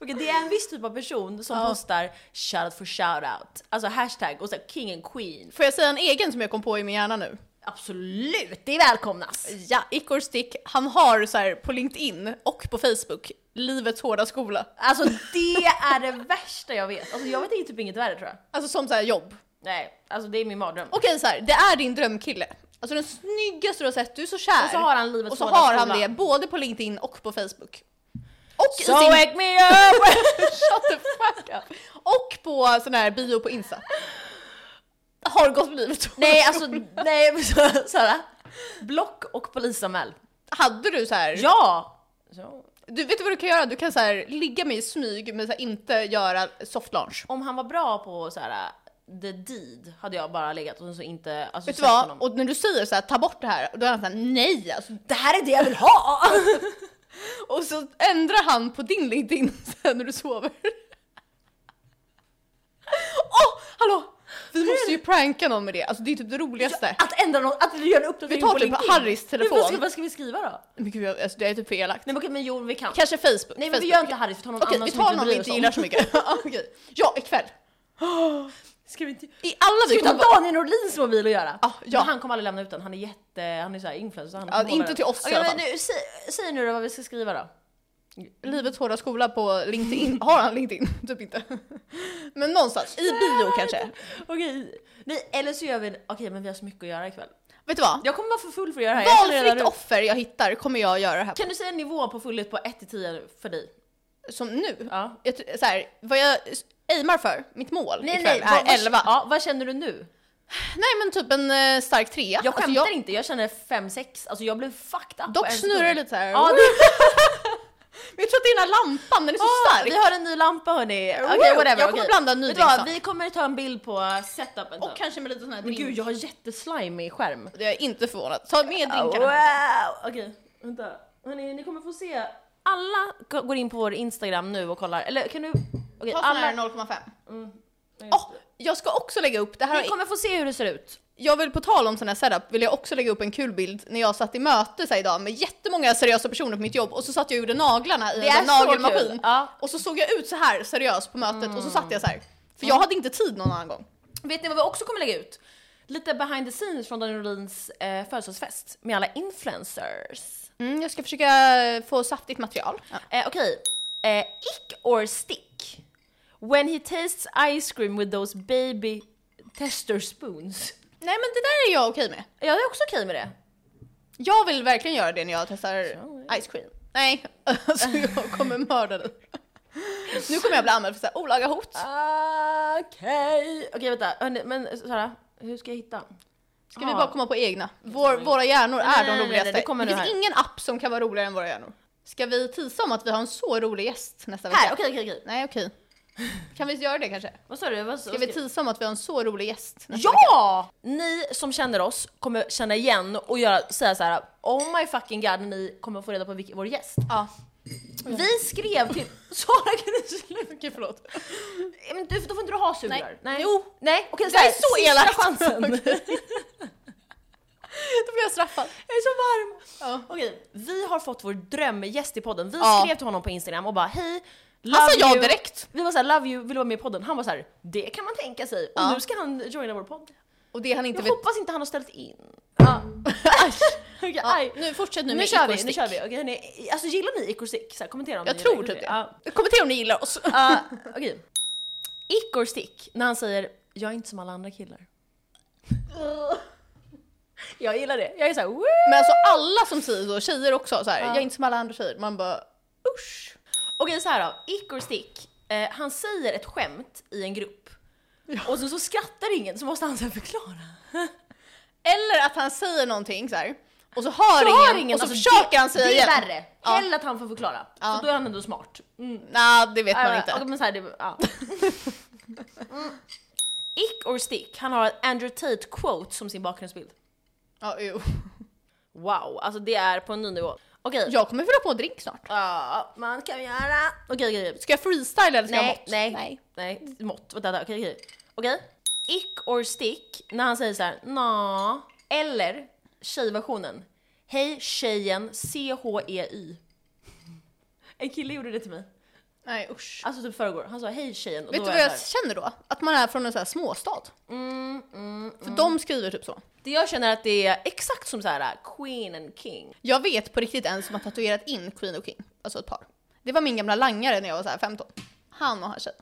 S1: Okej, det är en viss typ av person som postar shoutout for shoutout. Alltså hashtag och så här king and queen.
S2: Får jag säga en egen som jag kom på i min hjärna nu?
S1: Absolut, det välkomnas!
S2: Ja, Ickor Stick, han har så här på LinkedIn och på Facebook, livets hårda skola.
S1: Alltså det är det värsta jag vet. Alltså jag vet inte typ inget värre tror jag.
S2: Alltså som så här jobb.
S1: Nej, alltså det är min mardröm.
S2: Okej så här, det är din drömkille. Alltså den snyggaste du har sett, du är så kär.
S1: Och så har han livets
S2: Och så
S1: hårda
S2: har han
S1: skola.
S2: det både på LinkedIn och på Facebook. Och
S1: So
S2: i sin...
S1: wake me up!
S2: Shut the fuck up! Och på sån här bio på Insta. Har gått livet
S1: nej alltså, nej men så- Sara. Block och polisanmäl.
S2: Hade du så här...
S1: Ja! Så.
S2: Du vet du vad du kan göra? Du kan så här, ligga med i smyg men så här, inte göra soft launch.
S1: Om han var bra på så här the deed hade jag bara legat och så inte alltså,
S2: Vet du
S1: sett
S2: vad?
S1: honom.
S2: Och när du säger så här, ta bort det här, då är han såhär nej alltså.
S1: det här är det jag vill ha!
S2: Och så ändrar han på din LinkedIn sen när du sover. Åh, oh, hallå! Vi måste ju pranka någon med det, alltså det är typ det roligaste.
S1: Att ändra något, att du gör en uppdatering
S2: Vi tar
S1: på
S2: typ
S1: LinkedIn.
S2: Harrys
S1: Men
S2: telefon.
S1: Vad ska, vad ska vi skriva då?
S2: Men gud, jag- alltså, det är typ för elakt.
S1: Nej men okej, men jo vi kan.
S2: Kanske Facebook.
S1: Nej men vi
S2: Facebook.
S1: gör inte Harrys, vi tar någon
S2: Okej,
S1: annan
S2: vi
S1: som
S2: tar
S1: vi
S2: någon vi
S1: bryr oss
S2: inte
S1: om.
S2: gillar så mycket. Ja, Okej. Ja, ikväll.
S1: Ska vi inte...
S2: I alla
S1: Ska vi ta
S2: kommer vara-
S1: Daniel Norlins mobil och göra?
S2: Ja, ja.
S1: Men han kommer aldrig lämna ut den, han är jätte, han är såhär influencer. Han
S2: Ja,
S1: kommer
S2: inte
S1: hålla
S2: till
S1: den.
S2: oss i
S1: Okej,
S2: alla
S1: men
S2: fall.
S1: nu, säg, säg nu då vad vi ska skriva då.
S2: Livets hårda skola på LinkedIn. Har han LinkedIn? Typ inte. Men någonstans, i bio kanske.
S1: Okej, nej eller så gör vi, en- okej men vi har så mycket att göra ikväll.
S2: Vet du vad?
S1: Jag kommer vara för full för att göra det här. jag känner redan
S2: Valfritt
S1: nu.
S2: offer jag hittar kommer jag göra det här på.
S1: Kan du säga en nivå på fullhet på 1 till 10 för dig?
S2: Som nu.
S1: Ja.
S2: Jag, tr- så här, vad jag aimar för, mitt mål
S1: Nej
S2: ikväll
S1: nej,
S2: är
S1: vad,
S2: 11.
S1: Vad, ja, vad känner du nu?
S2: Nej men typ en eh, stark trea.
S1: Jag skämtar
S2: jag,
S1: inte, jag känner 5-6, alltså jag Alltså, blev fucked up på
S2: dock
S1: en
S2: snurrar
S1: sekund.
S2: det lite såhär.
S1: Ja, det,
S2: Men jag tror att det är den här lampan, den är så
S1: Ah,
S2: stark.
S1: vi har en ny lampa hörni. Okej
S2: Woo!
S1: whatever.
S2: Jag kommer
S1: okej.
S2: blanda en ny
S1: Vet du vad,
S2: drink
S1: Vi kommer ta en bild på setupen.
S2: Och
S1: sen.
S2: kanske med lite sån här
S1: Men
S2: drink.
S1: gud jag har jätteslimig skärm.
S2: Det är inte förvånat. Ta med drinkarna.
S1: Wow! Okej, vänta. Hörni, ni kommer få se. Alla go- går in på vår Instagram nu och kollar. Eller kan du? Okej,
S2: Ta sån
S1: alla.
S2: här 0,5.
S1: Nej,
S2: Åh, jag ska också lägga upp, det här
S1: Ni kommer få se hur det ser ut.
S2: Jag vill på tal om sån här setup, vill jag också lägga upp en kul bild när jag satt i möte så här idag med jättemånga seriösa personer på mitt jobb och så satt jag och gjorde naglarna i
S1: Det
S2: en
S1: är så
S2: nagelmaskin.
S1: kul, ja.
S2: Och så såg jag ut så här seriös på mötet och så satt jag så här. För jag hade inte tid någon annan gång.
S1: Vet ni vad vi också kommer lägga ut? Lite behind the scenes från Daniel Norins eh, födelsedagsfest med alla influencers.
S2: Mm, jag ska försöka få saftigt material.
S1: Eh, Okej, eh, ick or stick? When he tastes ice cream with those baby tester spoons.
S2: Nej men det där är jag okej med.
S1: Jag är också okej med det.
S2: Jag vill verkligen göra det när jag testar ice cream. Nej, alltså jag kommer mörda dig. Nu kommer jag bli anmäld för så här olaga hot.
S1: Okej. Okej vänta, Hörni, men Sara, hur ska jag hitta?
S2: Ska vi bara komma på egna? Vår, våra hjärnor
S1: Nej,
S2: är
S1: nej,
S2: de
S1: nej,
S2: roligaste.
S1: det kommer
S2: det
S1: nu
S2: finns
S1: här.
S2: ingen app som kan vara roligare än våra hjärnor. Ska vi tisa om att vi har en så rolig gäst nästa vecka?
S1: Här, okej okej okej.
S2: Nej okej. Kan vi göra det kanske?
S1: Vad sa du? Vad,
S2: Ska vi typ- tisa om att vi har en så rolig gäst nästa vecka?
S1: Ja! Ni som känner oss kommer känna igen och göra, säga så här: oh my fucking god, ni kommer få reda på vilken, vår gäst.
S2: Ja! Mm.
S1: Vi skrev till... Sara kan du sluta?
S2: Okej förlåt.
S1: Men du, då får inte du ha sugrör.
S2: Nej.
S1: Nej.
S2: Jo.
S1: Nej, okej
S2: Det är
S1: såhär,
S2: så
S1: sista
S2: elakt.
S1: chansen.
S2: Då blir jag straffad.
S1: Jag är så varm.
S2: Ja.
S1: Okej, vi har fått vår drömgäst i podden. Vi
S2: Ja.
S1: skrev till honom på Instagram och bara hej, love
S2: Han sa
S1: you."
S2: ja Alltså, direkt!
S1: Vi var såhär, love you, vill du vara med i podden? Han var såhär, det kan man tänka sig. Och
S2: Ja.
S1: nu ska han joina vår podd.
S2: Och det han
S1: Jag
S2: inte vet...
S1: hoppas inte han har ställt in. Ja. Aj. Okej,
S2: Ja,
S1: aj.
S2: nu fortsätt nu
S1: Nu,
S2: med
S1: kör
S2: Ick
S1: vi,
S2: och
S1: nu
S2: stick.
S1: kör vi. Okej, hörni, alltså gillar ni Icosick? Så här, kommentera om
S2: Jag
S1: ni
S2: tror
S1: gillar
S2: typ det.
S1: Ja.
S2: Kommentera om ni gillar oss.
S1: Ah, Okej. Ick or stick, när han säger “jag är inte som alla andra killar”. Jag gillar det. Jag är såhär woo!
S2: Men alltså alla som säger så, tjejer också så här.
S1: Ja.
S2: jag är inte som alla andra tjejer. Man bara usch.
S1: Okej så här då, ick or stick. Eh, han säger ett skämt i en grupp och så, så skrattar ingen så måste han sen förklara.
S2: Eller att han säger någonting så här. och så hör
S1: Så
S2: ingen,
S1: har ingen,
S2: och så
S1: alltså,
S2: försöker
S1: det-
S2: han säga
S1: Det
S2: igen.
S1: är värre.
S2: Ja.
S1: Hellre att han får förklara.
S2: Ja.
S1: För då är han ändå smart. Mm.
S2: Nej, det vet man
S1: Ja,
S2: inte.
S1: okej, men så här, det, ja. Mm. Ick or stick, han har ett Andrew Tate-quote som sin bakgrundsbild.
S2: Ja, jo.
S1: Wow, alltså det är på en ny nivå. Okej.
S2: Jag kommer fylla på en drink snart.
S1: Ja, man kan göra. Okej, okej, okej.
S2: Ska jag freestyla eller ska jag
S1: Nej,
S2: mått?
S1: nej, nej, nej. Mått. Vänta, vänta, okej, okej. Okej. Ick or stick när han säger så här, nå. Eller tjejversionen. Hej tjejen, C-H-E-Y. En kille gjorde det till mig.
S2: Nej, usch.
S1: Alltså typ förrgår. Han sa hej tjejen. Och
S2: vet
S1: då
S2: du
S1: var
S2: vad jag
S1: så här,
S2: känner då? Att man är från en sån här småstad.
S1: mm, mm.
S2: För de skriver typ så.
S1: Det jag känner att det är exakt som så här queen and king.
S2: Jag vet på riktigt en som har tatuerat in Queen och King, alltså ett par. Det var min gamla langare när jag var så här 15. Han och hans tjej.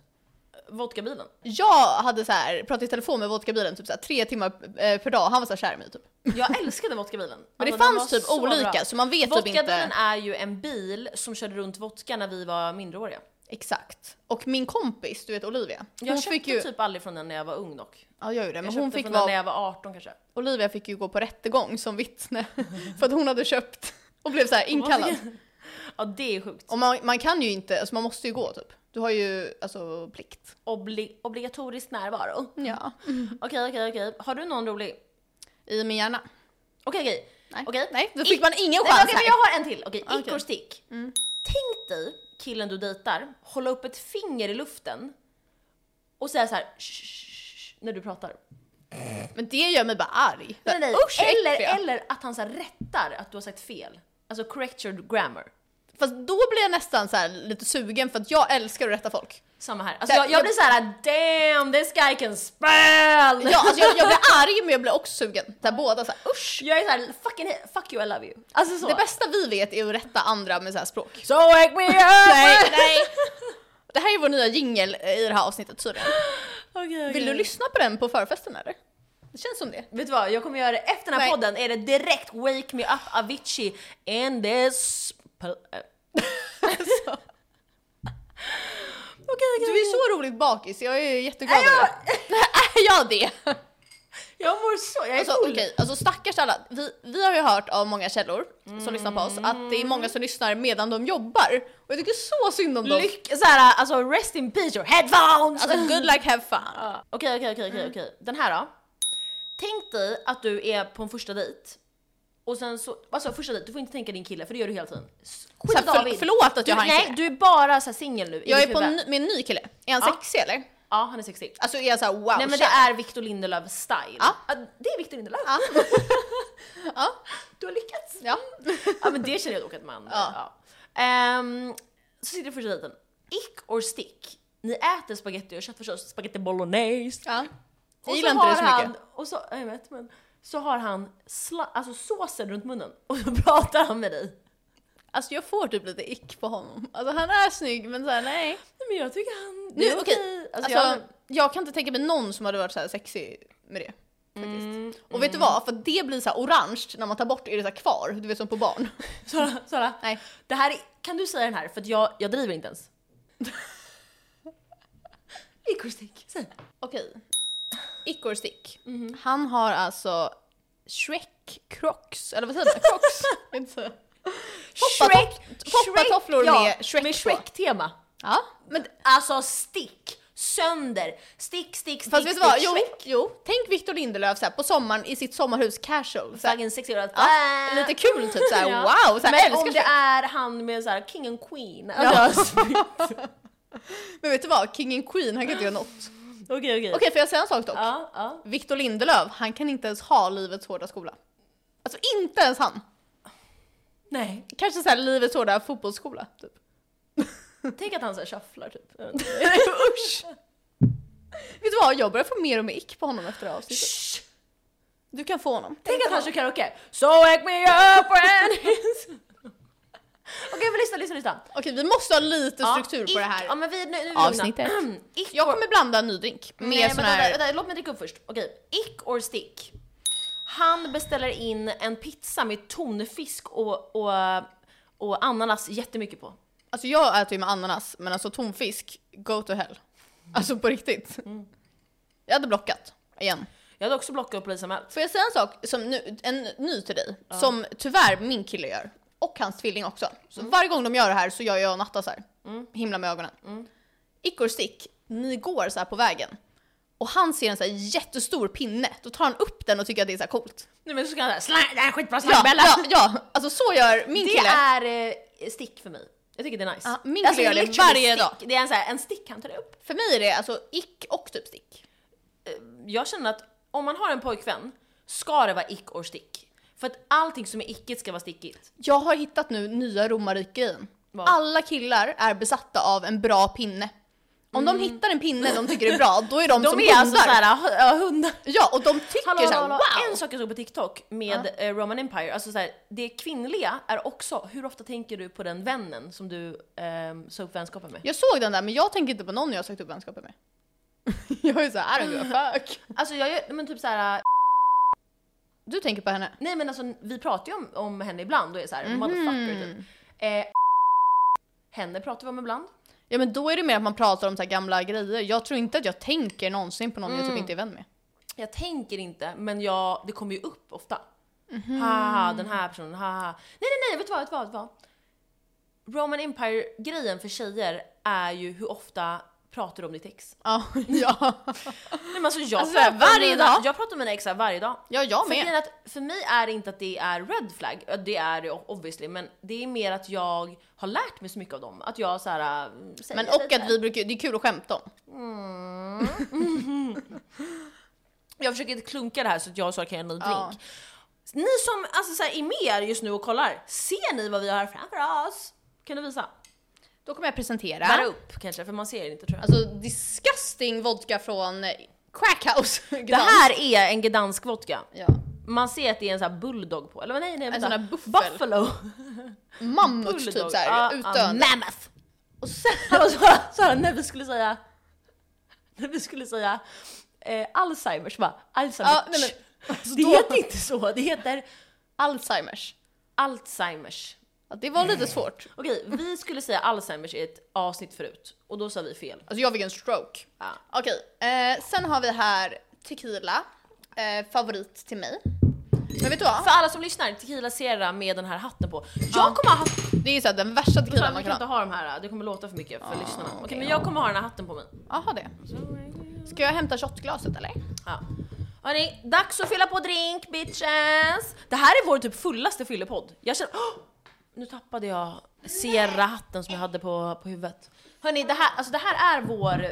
S1: Vodkabilen.
S2: Jag hade så här, pratat i telefon med vodkabilen typ så här, tre timmar eh, per dag, han var så här kär i mig typ.
S1: Jag älskade vodkabilen.
S2: Men
S1: Alltså,
S2: det
S1: den
S2: fanns
S1: var
S2: typ
S1: så
S2: olika
S1: bra.
S2: så man vet typ
S1: Vodkabilen
S2: inte.
S1: är ju en bil som körde runt vodka när vi var mindreåriga.
S2: Exakt. Och min kompis, du vet Olivia.
S1: Jag
S2: hon
S1: köpte
S2: fick ju...
S1: typ aldrig från den när jag var ung dock.
S2: Ja, jag gör ju det.
S1: Jag
S2: Men
S1: köpte
S2: hon fick
S1: från
S2: vara...
S1: den när jag var 18 kanske.
S2: Olivia fick ju gå på rättegång som vittne för att hon hade köpt och blev så här inkallad.
S1: Ja det är sjukt.
S2: Och man, man kan ju inte, alltså man måste ju gå typ. Du har ju alltså plikt.
S1: Obli- obligatorisk närvaro.
S2: Ja.
S1: Okej okej okej. Har du någon rolig?
S2: I min hjärna.
S1: Okej okej.
S2: Nej.
S1: Okej.
S2: Nej, då fick man ingen
S1: Nej, men
S2: chans
S1: okej,
S2: här.
S1: men jag har en till. Okej, Mm.
S2: Okej.
S1: ick or stick. Tänk dig killen du dejtar hålla upp ett finger i luften och säga så här "Shh", när du pratar.
S2: Men det gör mig bara arg.
S1: Nej, nej.
S2: Usch,
S1: Eller,
S2: äckliga.
S1: eller att han så här rättar att du har sagt fel. Alltså correct your grammar.
S2: Fast då blir jag nästan så här lite sugen för att jag älskar att rätta folk.
S1: Samma här. Alltså jag, jag blir såhär damn this guy can spell!
S2: Ja, alltså jag, jag blir arg men jag blir också sugen. Så här, båda så här, usch.
S1: Jag är såhär fucking he- fuck you I love you. Alltså så.
S2: Det bästa vi vet är att rätta andra med så här språk.
S1: So wake me up!
S2: Nej, nej. Det här är vår nya jingel eh, i det här avsnittet tydligen.
S1: Okej, okej.
S2: Vill du lyssna på den på förfesten eller? Det känns som det.
S1: Vet du vad, jag kommer göra det efter den här
S2: Nej.
S1: podden är det direkt Wake Me Up Avicii and this... Pl- eh. Okej, okej. Alltså.
S2: Du är så roligt bakis, jag är jätteglad
S1: Är jag-
S2: över det. Är jag det?
S1: Jag mår så, jag är
S2: Alltså
S1: full.
S2: okej, alltså stackars alla. Vi, vi har ju hört av många källor som lyssnar på oss att det är många som lyssnar medan de jobbar. Och jag tycker så synd om dem.
S1: Lyck, såhär, alltså rest in peace your headphones!
S2: Alltså Mm. good luck, have fun.
S1: Ja. Okej, okej, okej, okej, okej. Den här då. Tänk dig att du är på en första dejt. Och sen så, alltså första dejt, du får inte tänka din kille för det gör du hela tiden. S-
S2: Så
S1: Skit
S2: här, för,
S1: David.
S2: förlåt att
S1: Du,
S2: jag har en
S1: nej,
S2: kille.
S1: du är bara så här singel nu. i
S2: Jag
S1: ditt
S2: är på
S1: huvud.
S2: en ny- med en ny kille. Är han
S1: Ja.
S2: sexig eller?
S1: Ja, han är sexig.
S2: Alltså är jag såhär wow,
S1: nej men det
S2: kär?
S1: är Victor Lindelöf style.
S2: Ja.
S1: det är Victor Lindelöf.
S2: Ja. ja.
S1: Du har lyckats.
S2: ja.
S1: Ja men det känner jag dock att man...
S2: Ja.
S1: Ja. Ehm, så sitter första dejten. Ick or stick. Ni äter spaghetti och köttfärssås, spaghetti bolognese.
S2: ja.
S1: Och
S2: Jag gillar inte det
S1: har
S2: så
S1: han,
S2: mycket.
S1: Och så, jag vet, men, så har han sla, alltså såsen runt munnen och så pratar han med dig.
S2: Alltså jag får typ lite ick på honom. Alltså han är snygg men såhär nej.
S1: Nej, men jag tycker han...
S2: Nu, okej.
S1: Alltså,
S2: Alltså, jag... kan inte tänka mig någon som hade varit så här sexig med det. Faktiskt. och vet du vad? För det blir så här orange när man tar bort är det så här kvar, du vet som på barn.
S1: jag, Sara, Sara
S2: Nej.
S1: det här är, kan du säga den här? För att jag, jag driver inte ens. Ick or stick, säg.
S2: Okej. Ick or stick. Han har alltså Shrek Crocs, eller vad säger man? Crocs? Inte så.
S1: Shrek-
S2: Poppatofflor
S1: ja,
S2: med Shrek,
S1: med
S2: på.
S1: Shrek-tema.
S2: Ja.
S1: Men alltså stick! Sönder! Stick, stick, stick,
S2: Fast vet du vad?
S1: stick,
S2: Jo,
S1: Shrek.
S2: jo. tänk Victor Lindelöf så här, på sommaren i sitt sommarhus casual. Så här,
S1: Fucking sexy och
S2: ja, lite kul typ såhär
S1: Ah. Eh, Ja.
S2: wow, så här,
S1: Men
S2: älskar
S1: om det
S2: Shrek.
S1: är han med så här king and queen.
S2: Ja.
S1: Alltså,
S2: Men vet du vad? King and Queen, han kan inte göra något. Okej,
S1: Okej, okej.
S2: får jag säga en sak dock?
S1: Ja, ja.
S2: Victor Lindelöf, han kan inte ens ha livets hårda skola. Alltså inte ens han.
S1: Nej.
S2: Kanske såhär livets hårda fotbollsskola, typ.
S1: Tänk att han så här shufflar typ.
S2: Usch! Vet du vad, jag börjar få mer och mer ick på honom efter det här avsnittet.
S1: Shh.
S2: Du kan få honom.
S1: Tänk att han kör karaoke. So wake me up when it's- Okej, men lyssna, lyssna, lyssna.
S2: Okej, vi måste ha lite
S1: Ja,
S2: struktur på det
S1: ick- Ja,
S2: här
S1: men vi, nu, nu är vi lugna.
S2: avsnittet.
S1: Ick
S2: Jag
S1: or-
S2: kommer blanda en ny drink
S1: Nej,
S2: med
S1: men
S2: sån
S1: vänta,
S2: här...
S1: vänta, låt mig dricka upp först. Okej, ick or stick. Han beställer in en pizza med tonfisk och, och, och ananas jättemycket på.
S2: Alltså jag äter ju med ananas, men alltså tonfisk, go to hell. Alltså på riktigt.
S1: Mm.
S2: Jag hade blockat, igen.
S1: Jag hade också blockat och polisanmält.
S2: Får jag säga en sak, som nu, en ny till dig, som tyvärr min kille gör. Och hans tvilling också. Så
S1: Mm.
S2: varje gång de gör det här så gör jag och Natta så här. Himla med ögonen. Mm. Ick or stick, ni går så här på vägen. Och han ser en så här jättestor pinne, då tar han upp den och tycker att det är så här coolt.
S1: Nej men så ska han säga slang, det här är skitbra
S2: Ja,
S1: slangbella.
S2: ja, ja, alltså så gör min
S1: Det
S2: kille.
S1: är eh, stick för mig. Jag tycker det är nice. Alltså,
S2: Ja, min kille gör det
S1: literally
S2: varje
S1: stick. Det är en, så här, en stick han tar upp.
S2: För mig är det alltså ick och typ stick.
S1: Jag känner att om man har en pojkvän ska det vara ick or stick. För att allting som är ickigt ska vara stickigt.
S2: Jag har hittat nu nya romarrikein.
S1: Vad?
S2: Alla killar är besatta av en bra pinne. Om de hittar en pinne de tycker är bra, då är de,
S1: Mm. De
S2: som
S1: är
S2: hundar.
S1: alltså såhär, h- ja, hundar.
S2: Ja, och de tycker
S1: Hallå,
S2: såhär
S1: hallå, hallå. En
S2: wow!
S1: sak jag såg på TikTok med eh, Roman Empire, alltså så här, det kvinnliga är också, hur ofta tänker du på den vännen som du eh, sa upp vänskapen med?
S2: Jag såg den där men jag tänker inte på någon jag har sagt upp vänskapen med. jag är såhär, I don't give a fuck.
S1: Alltså jag gör- men typ så här.
S2: Du tänker på henne?
S1: nej men alltså vi pratar ju om, om henne ibland och är såhär motherfucker typ. Eh, henne pratar vi om ibland.
S2: Ja men då är det mer att man pratar om så här gamla grejer. Jag tror inte att jag tänker någonsin på någon jag
S1: Mm.
S2: typ inte är vän med.
S1: Jag tänker inte, men jag, det kommer ju upp ofta.
S2: Mhm.
S1: Haha, den här personen, haha. Nej, nej, nej, vet du vad? Vet du vad, vet du vad? Roman Empire-grejen för tjejer är ju hur ofta pratar du om ditt ex?
S2: Ja, ja.
S1: Nej, men alltså jag,
S2: Alltså,
S1: pratar om
S2: varje
S1: mina,
S2: dag?
S1: jag pratar om mina ex här varje dag.
S2: ja jag
S1: För, grejen
S2: med.
S1: är att för mig är det inte att det är red flag, Ja, det är det obviously, men det är mer att jag har lärt mig så mycket av dem. Att jag så här, äh, säger
S2: Men och
S1: lite.
S2: att vi brukar, det är kul att skämta om.
S1: Jag försöker inte klunka det här så att jag och Sara kan göra en ny drink.
S2: Ja.
S1: Ni som alltså, så här, är med er just nu och kollar, ser ni vad vi har framför oss? Kan du visa?
S2: Då kommer jag presentera.
S1: Bära upp kanske, för man ser det inte tror jag.
S2: Alltså disgusting vodka från eh, Crackhouse.
S1: det här är en gdansk vodka.
S2: Ja.
S1: Man ser att det är en sån här bulldog på, eller nej nej vänta.
S2: sån här buffel.
S1: Buffalo. Mm,
S2: Mammut typ
S1: Bulldog.
S2: såhär,
S1: Ja, ja,
S2: utdöende.
S1: mammoth.
S2: och sen,
S1: Hallå Sara, Sara, Alltså, när vi skulle säga, när vi skulle säga eh, Alzheimers, bara Alzheimer.
S2: Ja, nej, men-
S1: det heter inte så, det heter
S2: Alzheimers.
S1: Alzheimers.
S2: Ja, det var
S1: Mm.
S2: lite svårt.
S1: Okej, vi skulle säga Alzheimers i ett avsnitt förut och då sa vi fel.
S2: Alltså jag fick en stroke.
S1: Ja.
S2: Okej, eh, sen har vi här tequila. eh, favorit till mig. Men vet du vad?
S1: För alla som lyssnar, tequila sera med den här hatten på.
S2: Ja.
S1: Jag kommer ha hatten,
S2: Det är ju såhär den värsta
S1: Fan,
S2: tequilan
S1: vi
S2: man
S1: kan
S2: kan
S1: inte
S2: ha.
S1: ha de här, det kommer låta för mycket för
S2: Ah,
S1: lyssnarna. Okej
S2: okej,
S1: men
S2: ja.
S1: jag kommer ha den här hatten på mig.
S2: Jaha det. Ska jag hämta shotglaset eller?
S1: Ja. Hörni, dags att fylla på drink bitches! Det här är vår typ fullaste fyllepodd. Jag känner... Åh! nu tappade jag Sierra-hatten som jag hade på, på huvudet. Hörni, det här, alltså det här är vår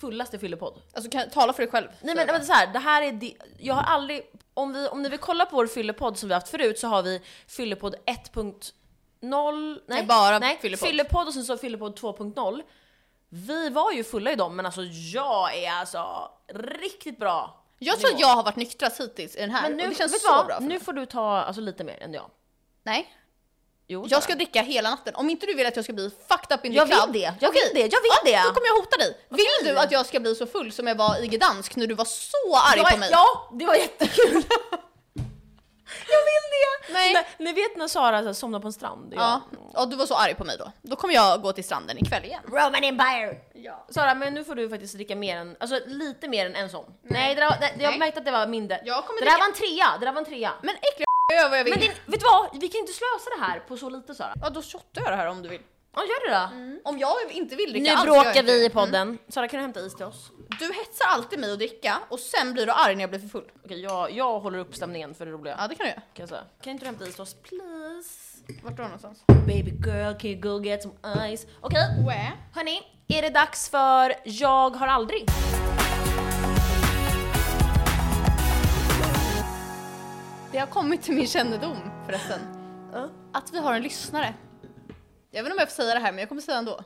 S1: fullaste fyllepodd.
S2: Alltså kan, tala för dig själv.
S1: Nej
S2: Så-
S1: men, men så här, det här är... di- Jag har aldrig... Om, vi, om ni vill kolla på vår fyllepodd som vi har haft förut så har vi fyllepodd 1.0...
S2: Det är bara
S1: nej,
S2: fyllepodd.
S1: fyllepodd. och sen så fyllepodd 2.0. Vi var ju fulla i dem men alltså jag är alltså riktigt bra
S2: Jag tror att jag har varit nyktrast hittills i den här
S1: men nu,
S2: och det känns
S1: vet
S2: så
S1: du vad?
S2: bra. för
S1: Nu
S2: mig.
S1: får du ta alltså, lite mer än jag.
S2: Nej,
S1: Jo, Sara.
S2: jag ska dricka hela natten. Om inte du vill att jag ska bli fucked up in the
S1: Jag vill
S2: club.
S1: det, jag
S2: Okej.
S1: vill det, jag vill
S2: ja,
S1: det.
S2: Då kommer jag hota dig. Vill du att jag ska bli så full som jag var i Gdansk när du var så arg
S1: Jag-
S2: på mig?
S1: Ja, det var jättekul! jag vill det!
S2: Nej.
S1: När, ni vet när Sara så här, somnar på en strand? och
S2: Ja. ja, du var så arg på mig då. Då kommer jag gå till stranden ikväll igen.
S1: jag- Roman Empire! Sara, men nu får du faktiskt dricka mer än, alltså lite mer än en sån. Nej, det där, var- det, jag
S2: Nej.
S1: märkte att det var mindre.
S2: Jag kommer
S1: det där
S2: dricka-
S1: var en trea, det där var en trea.
S2: Men äckliga jag gör vad jag vill.
S1: Men det, vet du vad? Vi kan inte slösa det här på så lite Sara.
S2: Ja, då shottar jag det här om du vill.
S1: Ja, gör det då.
S2: Om jag inte vill dricka
S1: Mm. Nu
S2: alls, gör jag
S1: bråkar
S2: inte Mm. det. Mm.
S1: vi i podden. Sara, kan du hämta is till oss?
S2: Du hetsar alltid mig att dricka och sen blir du arg när jag blir för full.
S1: Okej, jag, jag håller upp stämningen för det roliga.
S2: Ja, det kan du göra.
S1: Kan jag säga. Kan inte du hämta is till oss please?
S2: Vart var någonstans?
S1: Baby girl can you go get some ice? Okej,
S2: Where?
S1: hörni. Är det dags för Jag har aldrig?
S2: Det har kommit till min kännedom förresten. Att vi har en lyssnare. Jag vet inte om jag får säga det här men jag kommer säga det ändå.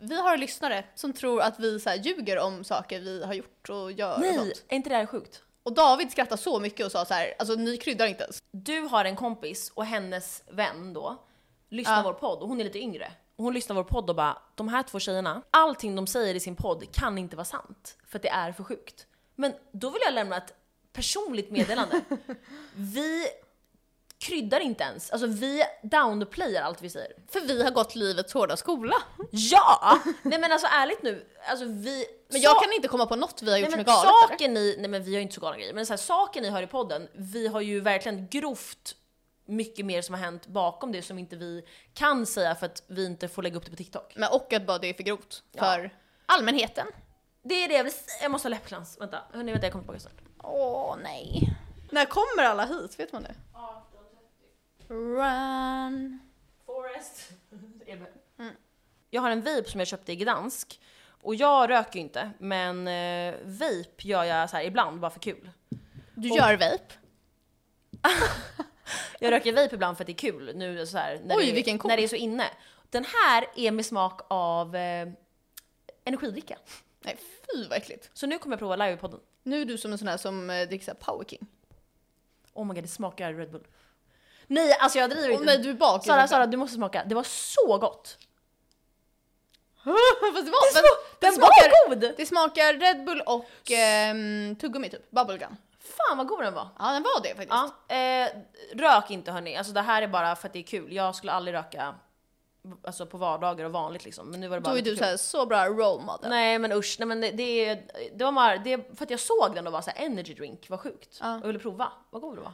S2: Vi har en lyssnare som tror att vi så här ljuger om saker vi har gjort och gör och
S1: Nej,
S2: sånt.
S1: är inte det här sjukt?
S2: Och David skrattade så mycket och sa så här, alltså ni kryddar inte ens.
S1: Du har en kompis och hennes vän då lyssnar
S2: Ja.
S1: vår podd och hon är lite yngre. Och hon lyssnar vår podd och bara, de här två tjejerna, allting de säger i sin podd kan inte vara sant för att det är för sjukt. Men då vill jag lämna ett personligt meddelande. vi kryddar inte ens, alltså vi downplayar allt vi säger.
S2: För vi har gått livets hårda skola.
S1: Ja! Nej men alltså ärligt nu, alltså vi...
S2: Men
S1: sa-
S2: jag kan inte komma på något vi har gjort
S1: nej,
S2: som är
S1: men
S2: galet. eller?
S1: saken ni, nej men vi har ju inte så galna grejer, men så här, saken ni hör i podden, vi har ju verkligen grovt mycket mer som har hänt bakom det som inte vi kan säga för att vi inte får lägga upp det på TikTok.
S2: Men och att bara det är för grovt för allmänheten.
S1: Det är det jag vill säga, jag måste ha läppglans. Vänta, hörni vänta jag kommer tillbaka snart.
S2: Åh nej. När kommer alla hit? Vet man det? Run.
S1: Forest.
S2: Mm.
S1: Jag har en vape som jag köpte i Gdansk. Och jag röker ju inte, men eh, vape gör jag så här ibland bara för kul.
S2: Du gör vape.
S1: Jag röker vape ibland för att det är kul nu är det så här, när,
S2: Oj,
S1: det, är-
S2: vilken cool.
S1: när det är så inne. Den här är med smak av eh, energidricka.
S2: Nej fy vad äckligt.
S1: Så nu kommer jag prova live i podden.
S2: Nu är du som en sån här som eh, dricker så här Power King.
S1: Oh my god, det smakar Red Bull. Nej, alltså jag driver
S2: Åh
S1: inte.
S2: nej Oh, du är bakis.
S1: Sara, Sara, du måste smaka. Det var så gott!
S2: Fast det var,
S1: Den,
S2: fast,
S1: den
S2: smakar-
S1: var god!
S2: det smakar Red Bull och ehm, tuggummi typ. Bubblegum.
S1: Fan vad god den var!
S2: Ja den var det faktiskt.
S1: Ja, eh, rök inte hörni, alltså det här är bara för att det är kul. Jag skulle aldrig röka alltså, på vardagar och vanligt liksom. Men nu var det bara
S2: Då är
S1: lite
S2: du
S1: kul.
S2: så, här, så bra role model.
S1: Nej men usch, nej men det, det, det var bara, det, för att jag såg den och var såhär energy drink, vad sjukt.
S2: Ja.
S1: Jag ville prova, vad god det var.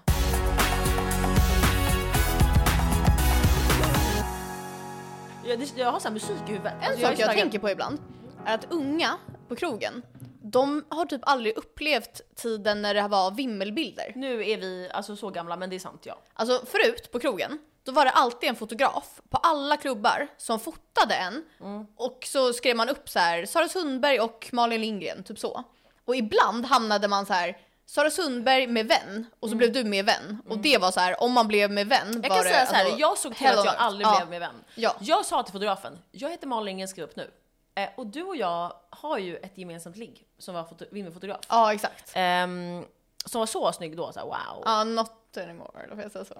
S1: Jag, det, jag har såhär musik i huvudet. Alltså,
S2: En sak jag tänker på ibland är att unga på krogen, de har typ aldrig upplevt tiden när det var vimmelbilder.
S1: Nu är vi alltså så gamla men det är sant ja.
S2: Alltså förut på krogen, då var det alltid en fotograf på alla klubbar som fotade en.
S1: Mm.
S2: Och så skrev man upp så här, Sara Sundberg och Malin Lindgren, typ så. Och ibland hamnade man så här, Sara Sundberg med vän och så blev du med vän. Och det var så här, om man blev med vän
S1: Mm. Jag
S2: var
S1: kan
S2: det,
S1: säga såhär,
S2: alltså,
S1: jag såg till
S2: hell
S1: att
S2: on
S1: jag
S2: earth.
S1: aldrig
S2: ja.
S1: blev med vän.
S2: Ja.
S1: Jag sa till fotografen, jag heter Malin Lindgren, skriv upp nu. Eh, och du och jag har ju ett gemensamt ligg som var foto, vimmelfotograf.
S2: Ja exakt.
S1: Ehm, som var så snygg då, såhär wow.
S2: Ja, not anymore, då får jag säga så.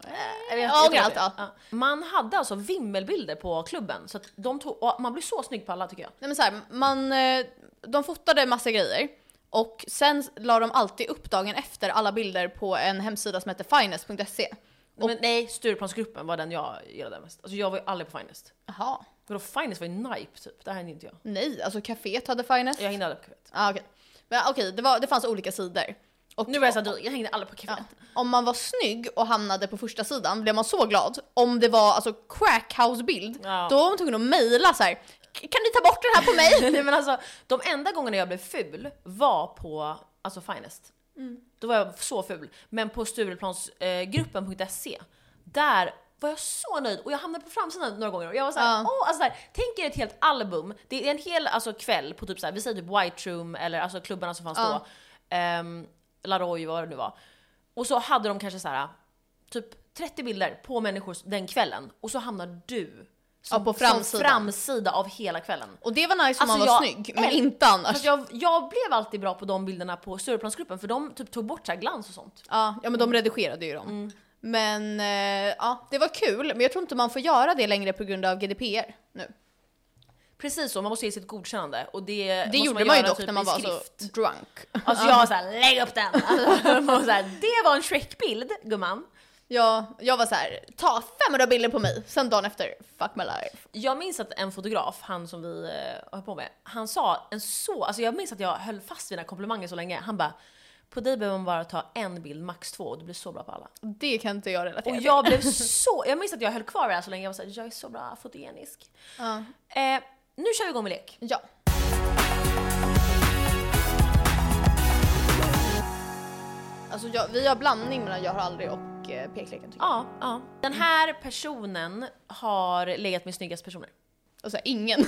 S1: Jag vet-
S2: Ja,
S1: jag tror
S2: ångrar
S1: det.
S2: allt,
S1: Ja. Man hade alltså vimmelbilder på klubben, så att de tog, och man blir så snygg på alla tycker jag.
S2: Nej men så här, man, eh, de fotade massa grejer och sen la de alltid upp dagen efter alla bilder på en hemsida som heter finest.se.
S1: Nej, Men, nej, Stureplansgruppen var den jag gillade mest. Alltså jag var ju aldrig på Finest.
S2: Jaha.
S1: Vadå Finest var ju Nipe typ, det här är inte jag.
S2: Nej, alltså kaféet hade finest.
S1: Jag hinner aldrig på kväll.
S2: Ah, okej. Men okej, det, var- det fanns olika sidor. Och
S1: Nu var jag så här dryg, jag hängde alla på kaféet.
S2: om man var snygg och hamnade på första sidan blev man så glad. Om det var alltså crackhouse-bild,
S1: Ja.
S2: då var man tvungen att mejla så här. Kan ni ta bort den här på mig?
S1: Nej men alltså, de enda gångerna jag blev ful var på alltså Finest.
S2: Mm.
S1: Då var jag så ful. Men på Stureplansgruppen.se, där var jag så nöjd och jag hamnade på framsidan några gånger och jag var såhär,
S2: Ja.
S1: åh, alltså där, tänk er ett helt album, det är en hel alltså, kväll på typ såhär, vi säger typ White Room eller alltså klubbarna som fanns
S2: Ja.
S1: då, um, Laroy vad det nu var. Och så hade de kanske såhär, typ 30 bilder på människor den kvällen och så hamnar du som,
S2: Ja, på
S1: som
S2: framsidan.
S1: framsida av hela kvällen.
S2: Och det var nice om
S1: Alltså,
S2: man var
S1: jag
S2: snygg, men
S1: äl-
S2: inte annars.
S1: Fast jag, jag blev alltid bra på de bilderna på Stureplansgruppen för de typ tog bort så här glans och sånt.
S2: Ja, ja men de redigerade ju dem.
S1: Mm.
S2: Men eh, ja, det var kul, men jag tror inte man får göra det längre på grund av GDPR nu.
S1: Precis så, man måste ge sitt godkännande och det
S2: Det
S1: måste
S2: gjorde man ju
S1: göra
S2: dock
S1: typ
S2: när man
S1: i
S2: var så
S1: skrift.
S2: drunk.
S1: Alltså jag var såhär, lägg upp den! Alltså, och så här, det var en Shrek-bild gumman.
S2: Ja, jag var så här, ta 500 bilder på mig, sen dagen efter, fuck my life.
S1: Jag minns att en fotograf, han som vi eh, höll på med, han sa en så, alltså jag minns att jag höll fast vid den här komplimangen så länge. Han bara, på dig behöver man bara ta en bild, max två och du blir så bra på alla.
S2: Det kan inte jag relatera
S1: Och
S2: till.
S1: jag blev så, jag minns att jag höll kvar vid det här så länge, jag var såhär, jag är så bra fotogenisk.
S2: Ja.
S1: Eh, nu kör vi igång med lek.
S2: ja. Alltså jag, vi har blandning mellan jag har aldrig och eh, pekleken tycker jag.
S1: Ja, ja. Den här personen har legat med snyggast personer.
S2: Och så här, ingen.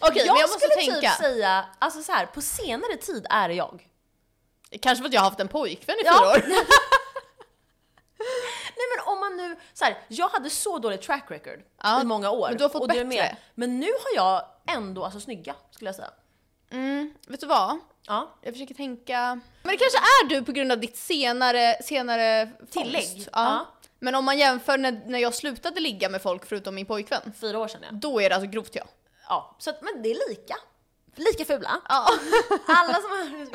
S2: Okej, men jag måste
S1: skulle
S2: tänka.
S1: typ säga, alltså så här, på senare tid är det jag.
S2: Kanske för att jag har haft en pojkvän i
S1: Ja.
S2: fyra år.
S1: Nej men om man nu, så här, jag hade så dålig track record
S2: Ja,
S1: i många år.
S2: men du har fått
S1: och det är
S2: bättre.
S1: mer. Men nu har jag ändå, alltså snygga skulle jag säga.
S2: Mm, vet du vad?
S1: Ja.
S2: Jag försöker tänka. Men det kanske är du på grund av ditt senare, senare
S1: Tillägg.
S2: fångst.
S1: Ja.
S2: Men om man jämför när, när jag slutade ligga med folk förutom min pojkvän,
S1: Fyra år sedan ja.
S2: då är det alltså grovt jag.
S1: ja. Så att, men det är lika. Lika fula.
S2: Ja.
S1: Alla som har...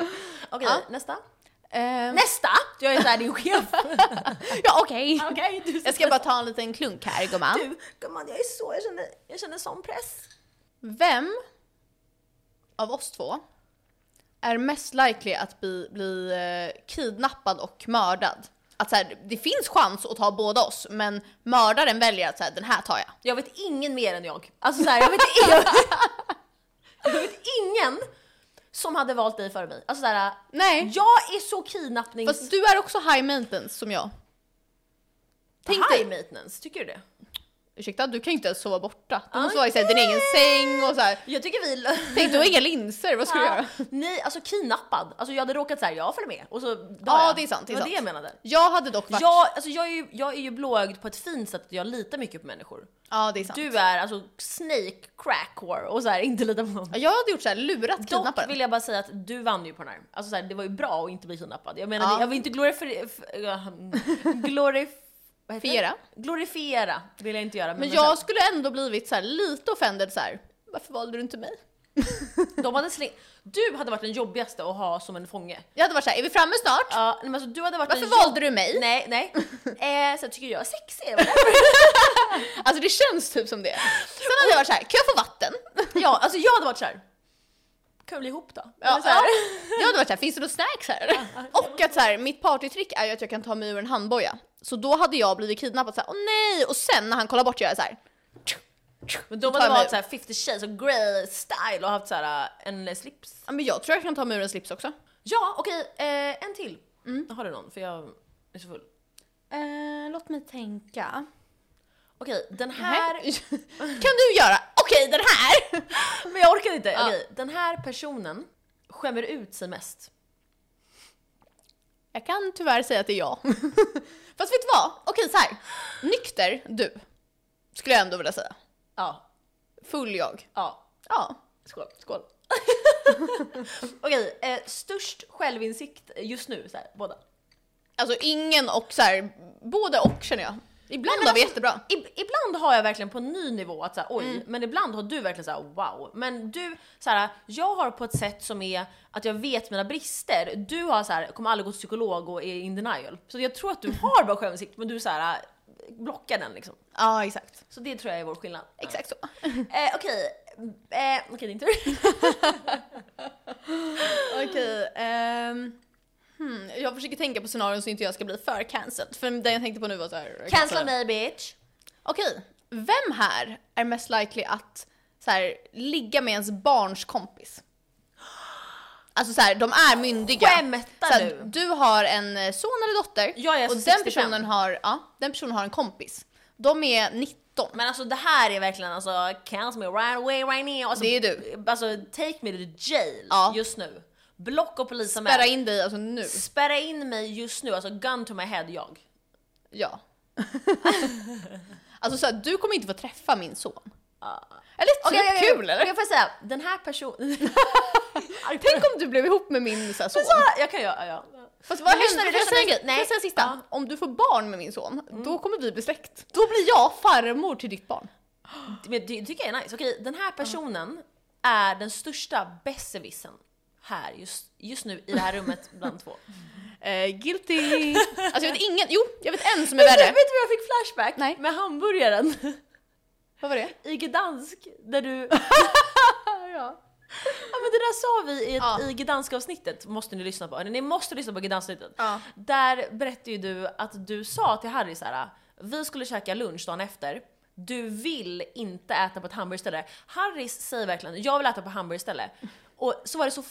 S1: Okej,
S2: Ja.
S1: nästa.
S2: Ehm,
S1: Nästa! Jag är såhär din chef.
S2: ja okej.
S1: Okej, du
S2: Jag ska bara ta en liten klunk här gumman.
S1: Du, gumman jag är så, jag känner, jag känner sån press.
S2: Vem av oss två är mest likely att bli, bli eh, kidnappad och mördad? Att så här, det finns chans att ta båda oss, men mördaren väljer att så här, den här tar jag.
S1: Jag vet ingen mer än jag. Alltså så här, jag, vet, jag, jag vet ingen som hade valt dig före mig. Alltså så här,
S2: Nej.
S1: jag är så kidnappnings...
S2: Fast du är också high maintenance som jag.
S1: tänk
S2: tänk
S1: dig maintenance, tycker du det?
S2: Ursäkta, du kan ju inte ens sova borta. Du
S1: Ah,
S2: måste vara i så här, din egen säng och så här.
S1: Jag tycker vi...
S2: Tänk, du har inga linser, vad ska du göra?
S1: Nej, alltså kidnappad. Alltså jag hade råkat säga jag följer med och så dör
S2: Ja,
S1: jag.
S2: det är sant, det är
S1: var
S2: sant.
S1: det jag menade.
S2: Jag hade dock varit...
S1: Jag, alltså jag, är ju, jag är ju blåögd på ett fint sätt att jag litar mycket på människor.
S2: Ja, det är sant.
S1: Du är alltså snake crack whore och så här, inte litar på någon.
S2: Ja, Jag hade gjort så här, lurat
S1: Dock vill
S2: kidnapparen.
S1: jag bara säga att du vann ju på den här. Alltså så här, det var ju bra att inte bli kidnappad. Jag menar,
S2: Ja.
S1: jag vill inte glorifiera... Glorif vad heter det?
S2: Fiera.
S1: Glorifiera vill jag inte göra. Men,
S2: Men
S1: men
S2: jag skulle ändå blivit så här, lite offended så här. varför valde du inte mig?
S1: sen, de hade släng... Du hade varit den jobbigaste att ha som en fånge.
S2: Jag hade varit så här, är vi framme snart?
S1: Ja, nej, men alltså, du hade varit
S2: Varför
S1: den
S2: valde du mig?
S1: Nej, nej. Eh, så jag tycker jag är sexig. eller?
S2: Alltså det känns typ som det. Sen hade jag varit så här, kan jag få vatten?
S1: ja, alltså jag hade varit såhär. Kan vi bli ihop då?
S2: Ja,
S1: Eller så här.
S2: Jag hade varit såhär, finns det några snacks här? Och att såhär, mitt partytrick är ju att jag kan ta mig ur en handboja. Så då hade jag blivit kidnappad såhär, åh nej! Och sen när han kollar bort gör jag såhär.
S1: Men de
S2: tar
S1: hade
S2: jag mig
S1: varit
S2: ut.
S1: såhär 50 shades och grey style och haft såhär en slips.
S2: Ja men jag tror jag kan ta mig ur en slips också.
S1: Ja, okej. Eh, en till. Har du någon? För jag är så full.
S2: Eh, låt mig tänka.
S1: Okej, den här...
S2: Här. Mhm. kan du göra? Okej den här!
S1: Men jag orkar inte.
S2: Ja.
S1: Okej, den här personen skämmer ut sig mest.
S2: Jag kan tyvärr säga att det är jag. Fast vet du vad? Okej så här. nykter du. Skulle jag ändå vilja säga.
S1: Ja.
S2: Full jag.
S1: Ja.
S2: Ja.
S1: Skål. Skål. Okej, eh, störst självinsikt just nu, så här, båda.
S2: Alltså ingen och såhär, både och känner jag. Ibland
S1: men
S2: har vi
S1: alltså-
S2: jättebra.
S1: Ib- ibland har jag verkligen på en ny nivå att säga oj, men ibland har du verkligen så här wow. Men du, så här, jag har på ett sätt som är att jag vet mina brister. Du har så här, kommer aldrig gå till psykolog och är in denial. Så jag tror att du har bra självinsikt, men du så här blockar den liksom.
S2: Ja exakt.
S1: Så det tror jag är vår skillnad.
S2: Exakt så.
S1: Eh, Okej, Eh, Okej, din tur.
S2: Okej, ehm, hmm, jag försöker tänka på scenarion så inte jag ska bli för cancelled. För den jag tänkte på nu var så här.
S1: Cancel mig bitch.
S2: Okej, vem här är mest likely att så här, ligga med ens barns kompis? Alltså så här, de är myndiga.
S1: Skämtar
S2: så här,
S1: du?
S2: Du har en eh, son eller dotter
S1: Jag är
S2: och
S1: alltså
S2: den
S1: 65.
S2: personen, har, ja, den personen har en kompis. De är 19.
S1: Men alltså det här är verkligen alltså cancel me right away right now. Alltså,
S2: Det är du.
S1: Alltså take me to jail
S2: Ja.
S1: just nu. Block och polisanmäl.
S2: Spärra in dig alltså nu.
S1: Spärra in mig just nu, alltså gun to my head jag.
S2: Ja. alltså så här, du kommer inte få träffa min son. Eller så
S1: Okej,
S2: typ kul eller?
S1: Jag får säga, den här personen...
S2: Tänk om du blev ihop med min så här, son.
S1: jag kan göra, ja.
S2: Fast vad
S1: Men lyssna,
S2: händer? Får jag
S1: lyssna,
S2: säga en
S1: lyssna.
S2: grej? Får jag
S1: Nej.
S2: säga en sista?
S1: Ja.
S2: Om du får barn med min son, då kommer vi bli släkt. Mm. Då blir jag farmor till ditt barn.
S1: Men det tycker jag är nice. Okej, den här personen är den största besserwissern här just, just nu i det här rummet bland två.
S2: Eh, guilty! alltså jag vet ingen, jo jag vet en som är
S1: Vet du, vet
S2: värre.
S1: du vad jag fick flashback
S2: Nej.
S1: med hamburgaren
S2: Vad var det?
S1: i Gdansk där du... Ja men det där sa vi i, ett,
S2: Ja.
S1: i Gdansk-avsnittet, måste ni lyssna på. Eller, Ni måste lyssna på Gdansk-avsnittet.
S2: Ja.
S1: Där berättade ju du att du sa till Harry så här: vi skulle käka lunch dagen efter, du vill inte äta på ett hamburgerställe. Harris säger verkligen, jag vill äta på hamburgerställe. Och så var det så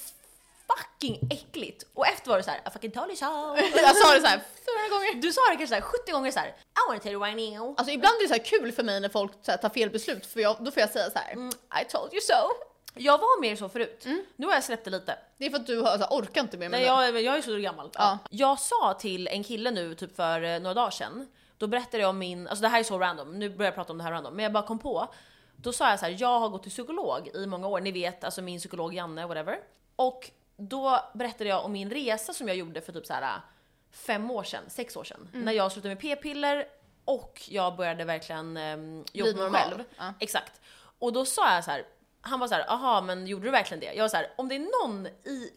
S1: fucking äckligt. Och efter var det så här, I fucking told you so.
S2: Jag sa det så här 400 gånger.
S1: Du sa det kanske så här 70 gånger så här. I wanna tell you right now.
S2: Alltså ibland är det så här kul för mig när folk så här, tar fel beslut för jag, då får jag säga så här. Mm, I told you so. Mm.
S1: Jag var mer så förut, nu har jag släppt det lite.
S2: Det är för att du har, så här, orkar inte mer med
S1: Nej,
S2: mig.
S1: jag, är- jag är så gammal.
S2: Ja.
S1: Jag sa till en kille nu typ för eh, några dagar sedan, då berättade jag om min, alltså det här är så random, nu börjar jag prata om det här random, men jag bara kom på. Då sa jag så här, jag har gått till psykolog i många år, ni vet alltså min psykolog Janne, whatever. Och då berättade jag om min resa som jag gjorde för typ så här eh, fem år sedan, sex år sedan.
S2: Mm.
S1: När jag slutade med p-piller och jag började verkligen ehm, jobba med mig
S2: normal.
S1: själv.
S2: Ja.
S1: Exakt. Och då sa jag så här. Han var så här, aha men gjorde du verkligen det? Jag var så här, om det är någon i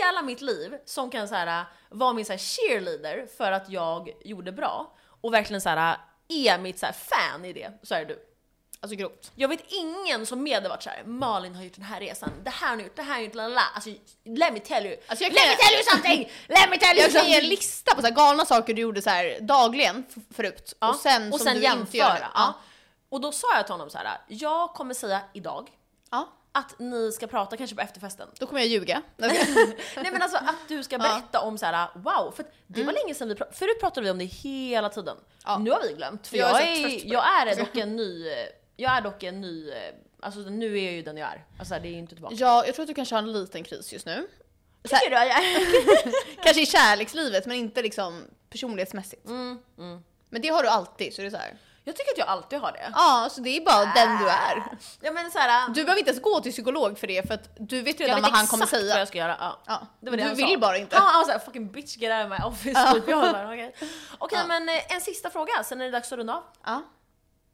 S1: hela mitt liv som kan så här, vara min så här cheerleader för att jag gjorde bra och verkligen så här, är mitt så här fan i det, så är det du.
S2: Alltså grovt.
S1: Jag vet ingen som med har varit så här, Malin har gjort den här resan, det här har hon gjort, det här har hon gjort, la la, la." Alltså let me tell you,
S2: Alltså, jag
S1: let
S2: kan-
S1: me tell you something! Let me tell you
S2: Jag kan ge en
S1: something!
S2: lista på så här, galna saker du gjorde så här, dagligen f- förut och sen som du inte gör. nu.
S1: jämföra. Ja.
S2: Ja.
S1: Och då sa jag till honom så här, jag kommer säga idag
S2: Ja.
S1: att ni ska prata kanske på efterfesten.
S2: Då kommer jag ljuga.
S1: Nej men alltså att du ska
S2: Ja. Mm.
S1: berätta om så här: wow, för att det var länge sedan vi pratade, förut pratade vi om det hela tiden.
S2: Ja.
S1: Nu har vi glömt, för
S2: Jag
S1: jag,
S2: är
S1: är,
S2: så trött på det. Alltså.
S1: jag är dock en ny, jag är dock en ny, alltså nu är jag ju den jag är. Alltså det är ju inte tillbaka.
S2: Ja, jag tror att du kanske har en liten kris just nu.
S1: Tycker du att jag är?
S2: Kanske i kärlekslivet men inte liksom personlighetsmässigt.
S1: Mm,
S2: Men det har du alltid så det är så här.
S1: Jag tycker att jag alltid har det.
S2: Ja, så det är bara den du är.
S1: Ja men såhär,
S2: Du behöver inte ens gå till psykolog för det för att du vet
S1: jag
S2: redan
S1: vet
S2: vad han
S1: exakt
S2: kommer säga.
S1: vad jag ska göra. Ja.
S2: Ja,
S1: Det var det
S2: du
S1: han
S2: vill
S1: sa.
S2: bara inte.
S1: Ja, han var såhär fucking bitch get out of my office.
S2: Ja.
S1: typ. Jag var bara, Okej Okej,
S2: Ja.
S1: men eh, en sista fråga, sen är det dags att runda av.
S2: Ja.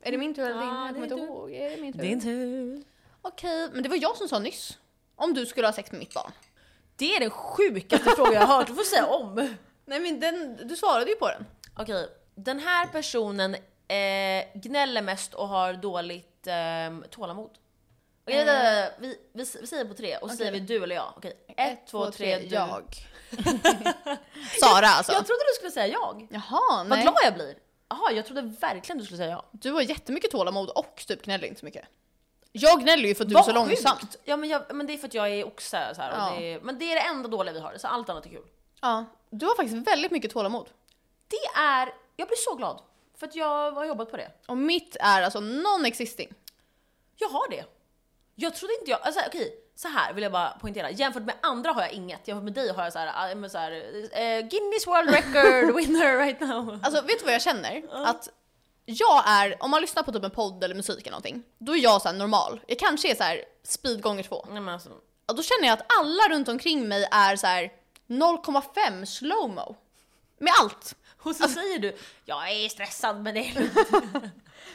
S2: Är det min tur eller din?
S1: Ja,
S2: jag
S1: det är
S2: kommer inte
S1: du.
S2: ihåg. Är det min tur?
S1: tur.
S2: Okej, men det var jag som sa nyss. Om du skulle ha sex med mitt barn.
S1: Det är den sjukaste frågan jag har hört, du får säga om.
S2: Nej men den, du svarade ju på den.
S1: Okej, den här personen eh, gnäller mest och har dåligt eh, tålamod. Okej,
S2: Eh.
S1: vänta, vänta, vi, vi, vi säger på tre och så
S2: Okej.
S1: säger vi du eller jag. Okej, ett, två, tre, du. Jag.
S2: jag. Sara alltså.
S1: trodde du skulle säga jag.
S2: Jaha,
S1: Vad
S2: nej.
S1: glad jag blir. Jaha, jag trodde verkligen du skulle säga jag.
S2: Du har jättemycket tålamod och typ gnäller inte så mycket. Jag gnäller ju för att du är så
S1: Vad sjukt.
S2: långsam.
S1: Ja men, jag, men det är för att jag är oxe så här, och
S2: Ja.
S1: det är, Men det är det enda dåliga vi har, så allt annat är kul.
S2: Ja, du har faktiskt väldigt mycket tålamod.
S1: Det är, jag blir så glad. För att jag har jobbat på det.
S2: Och mitt är alltså non-existing.
S1: Jag har det. Jag trodde inte jag, alltså okej, så här vill jag bara poängtera. Jämfört med andra har jag inget, jämfört med dig har jag så här, äh, men så här eh, Guinness World Record winner right now.
S2: Alltså vet du vad jag känner? Att jag är, om man lyssnar på typ en podd eller musik eller någonting, då är jag så här normal. Jag kanske är så här speed gånger två.
S1: Nej men alltså,
S2: Och då känner jag att alla runt omkring mig är så här 0,5 slowmo. Med allt.
S1: och så säger du, jag är stressad men det är lugnt."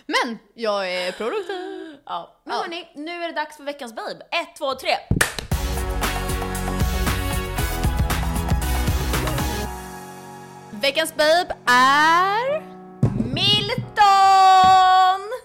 S2: Men jag är produktiv.
S1: ja. Men
S2: Ja.
S1: hörni, nu är det dags för veckans babe. Ett, två, tre!
S2: Veckans babe är...
S1: Milton!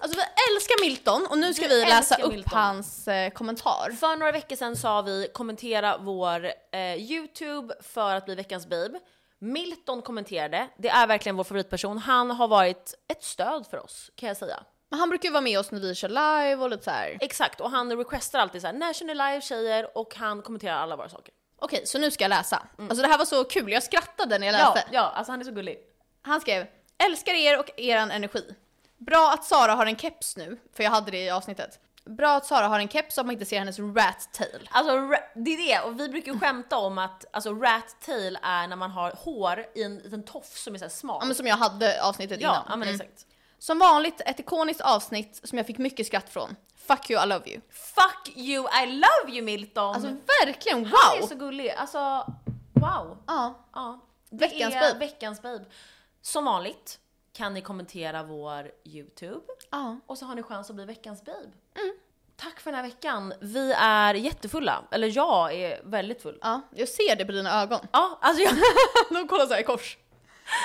S2: Alltså vi älskar Milton och nu nu ska
S1: Du
S2: vi läsa
S1: älskar
S2: upp
S1: Milton.
S2: hans eh, kommentar.
S1: För några veckor sedan sa vi kommentera vår eh, YouTube för att bli veckans babe. Milton kommenterade, det är verkligen vår favoritperson. Han har varit ett stöd för oss kan jag säga.
S2: Men han brukar ju vara med oss när vi kör live och lite så här.
S1: Exakt, och han requestar alltid så här, när kör ni live tjejer? Och han kommenterar alla våra saker.
S2: Okej, så nu ska jag läsa. Alltså det här var så kul, jag skrattade när jag
S1: Mm. Ja,
S2: läste.
S1: ja, alltså han är så gullig.
S2: Han skrev “Älskar er och eran energi. Bra att Sara har en keps nu, för jag hade det i avsnittet. Bra att Sara har en keps så att man inte ser hennes rat tail.
S1: Alltså ra- det är det, och vi brukar ju skämta om att alltså, rat tail är när man har hår i en liten tofs som är så här smal.
S2: Ja, men som jag hade avsnittet
S1: ja,
S2: innan.
S1: ja, men
S2: Mm.
S1: exakt.
S2: Som vanligt ett ikoniskt avsnitt som jag fick mycket skratt från. Fuck you, I love you.
S1: Fuck you, I love you Milton!
S2: Alltså verkligen
S1: han är
S2: wow!
S1: så gullig, alltså wow.
S2: Ja.
S1: Ja, det
S2: Veckans
S1: är
S2: babe.
S1: veckans babe. Som vanligt kan ni kommentera vår YouTube
S2: ja.
S1: och så har ni chans att bli veckans babe.
S2: Mm.
S1: Tack för den här veckan. Vi är jättefulla, eller jag är väldigt full.
S2: Ja, jag ser det på dina ögon.
S1: Ja, alltså jag...
S2: De kollar såhär i kors.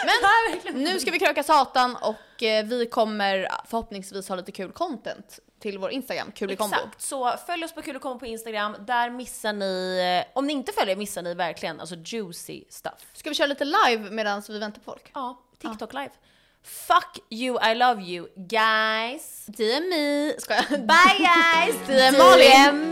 S1: Nej, verkligen.
S2: Nu ska vi kröka satan och eh, vi kommer förhoppningsvis ha lite kul content till vår Instagram, kul i kombo.
S1: Exakt, så följ oss på Kul och kombo på Instagram. Där missar ni, eh, om ni inte följer missar ni verkligen alltså juicy stuff.
S2: Ska vi köra lite live medan vi väntar på folk?
S1: Ja, TikTok live. Fuck you, I love you guys.
S2: DMI! Ska jag?
S1: Bye guys!
S2: Det är Malin.
S1: DM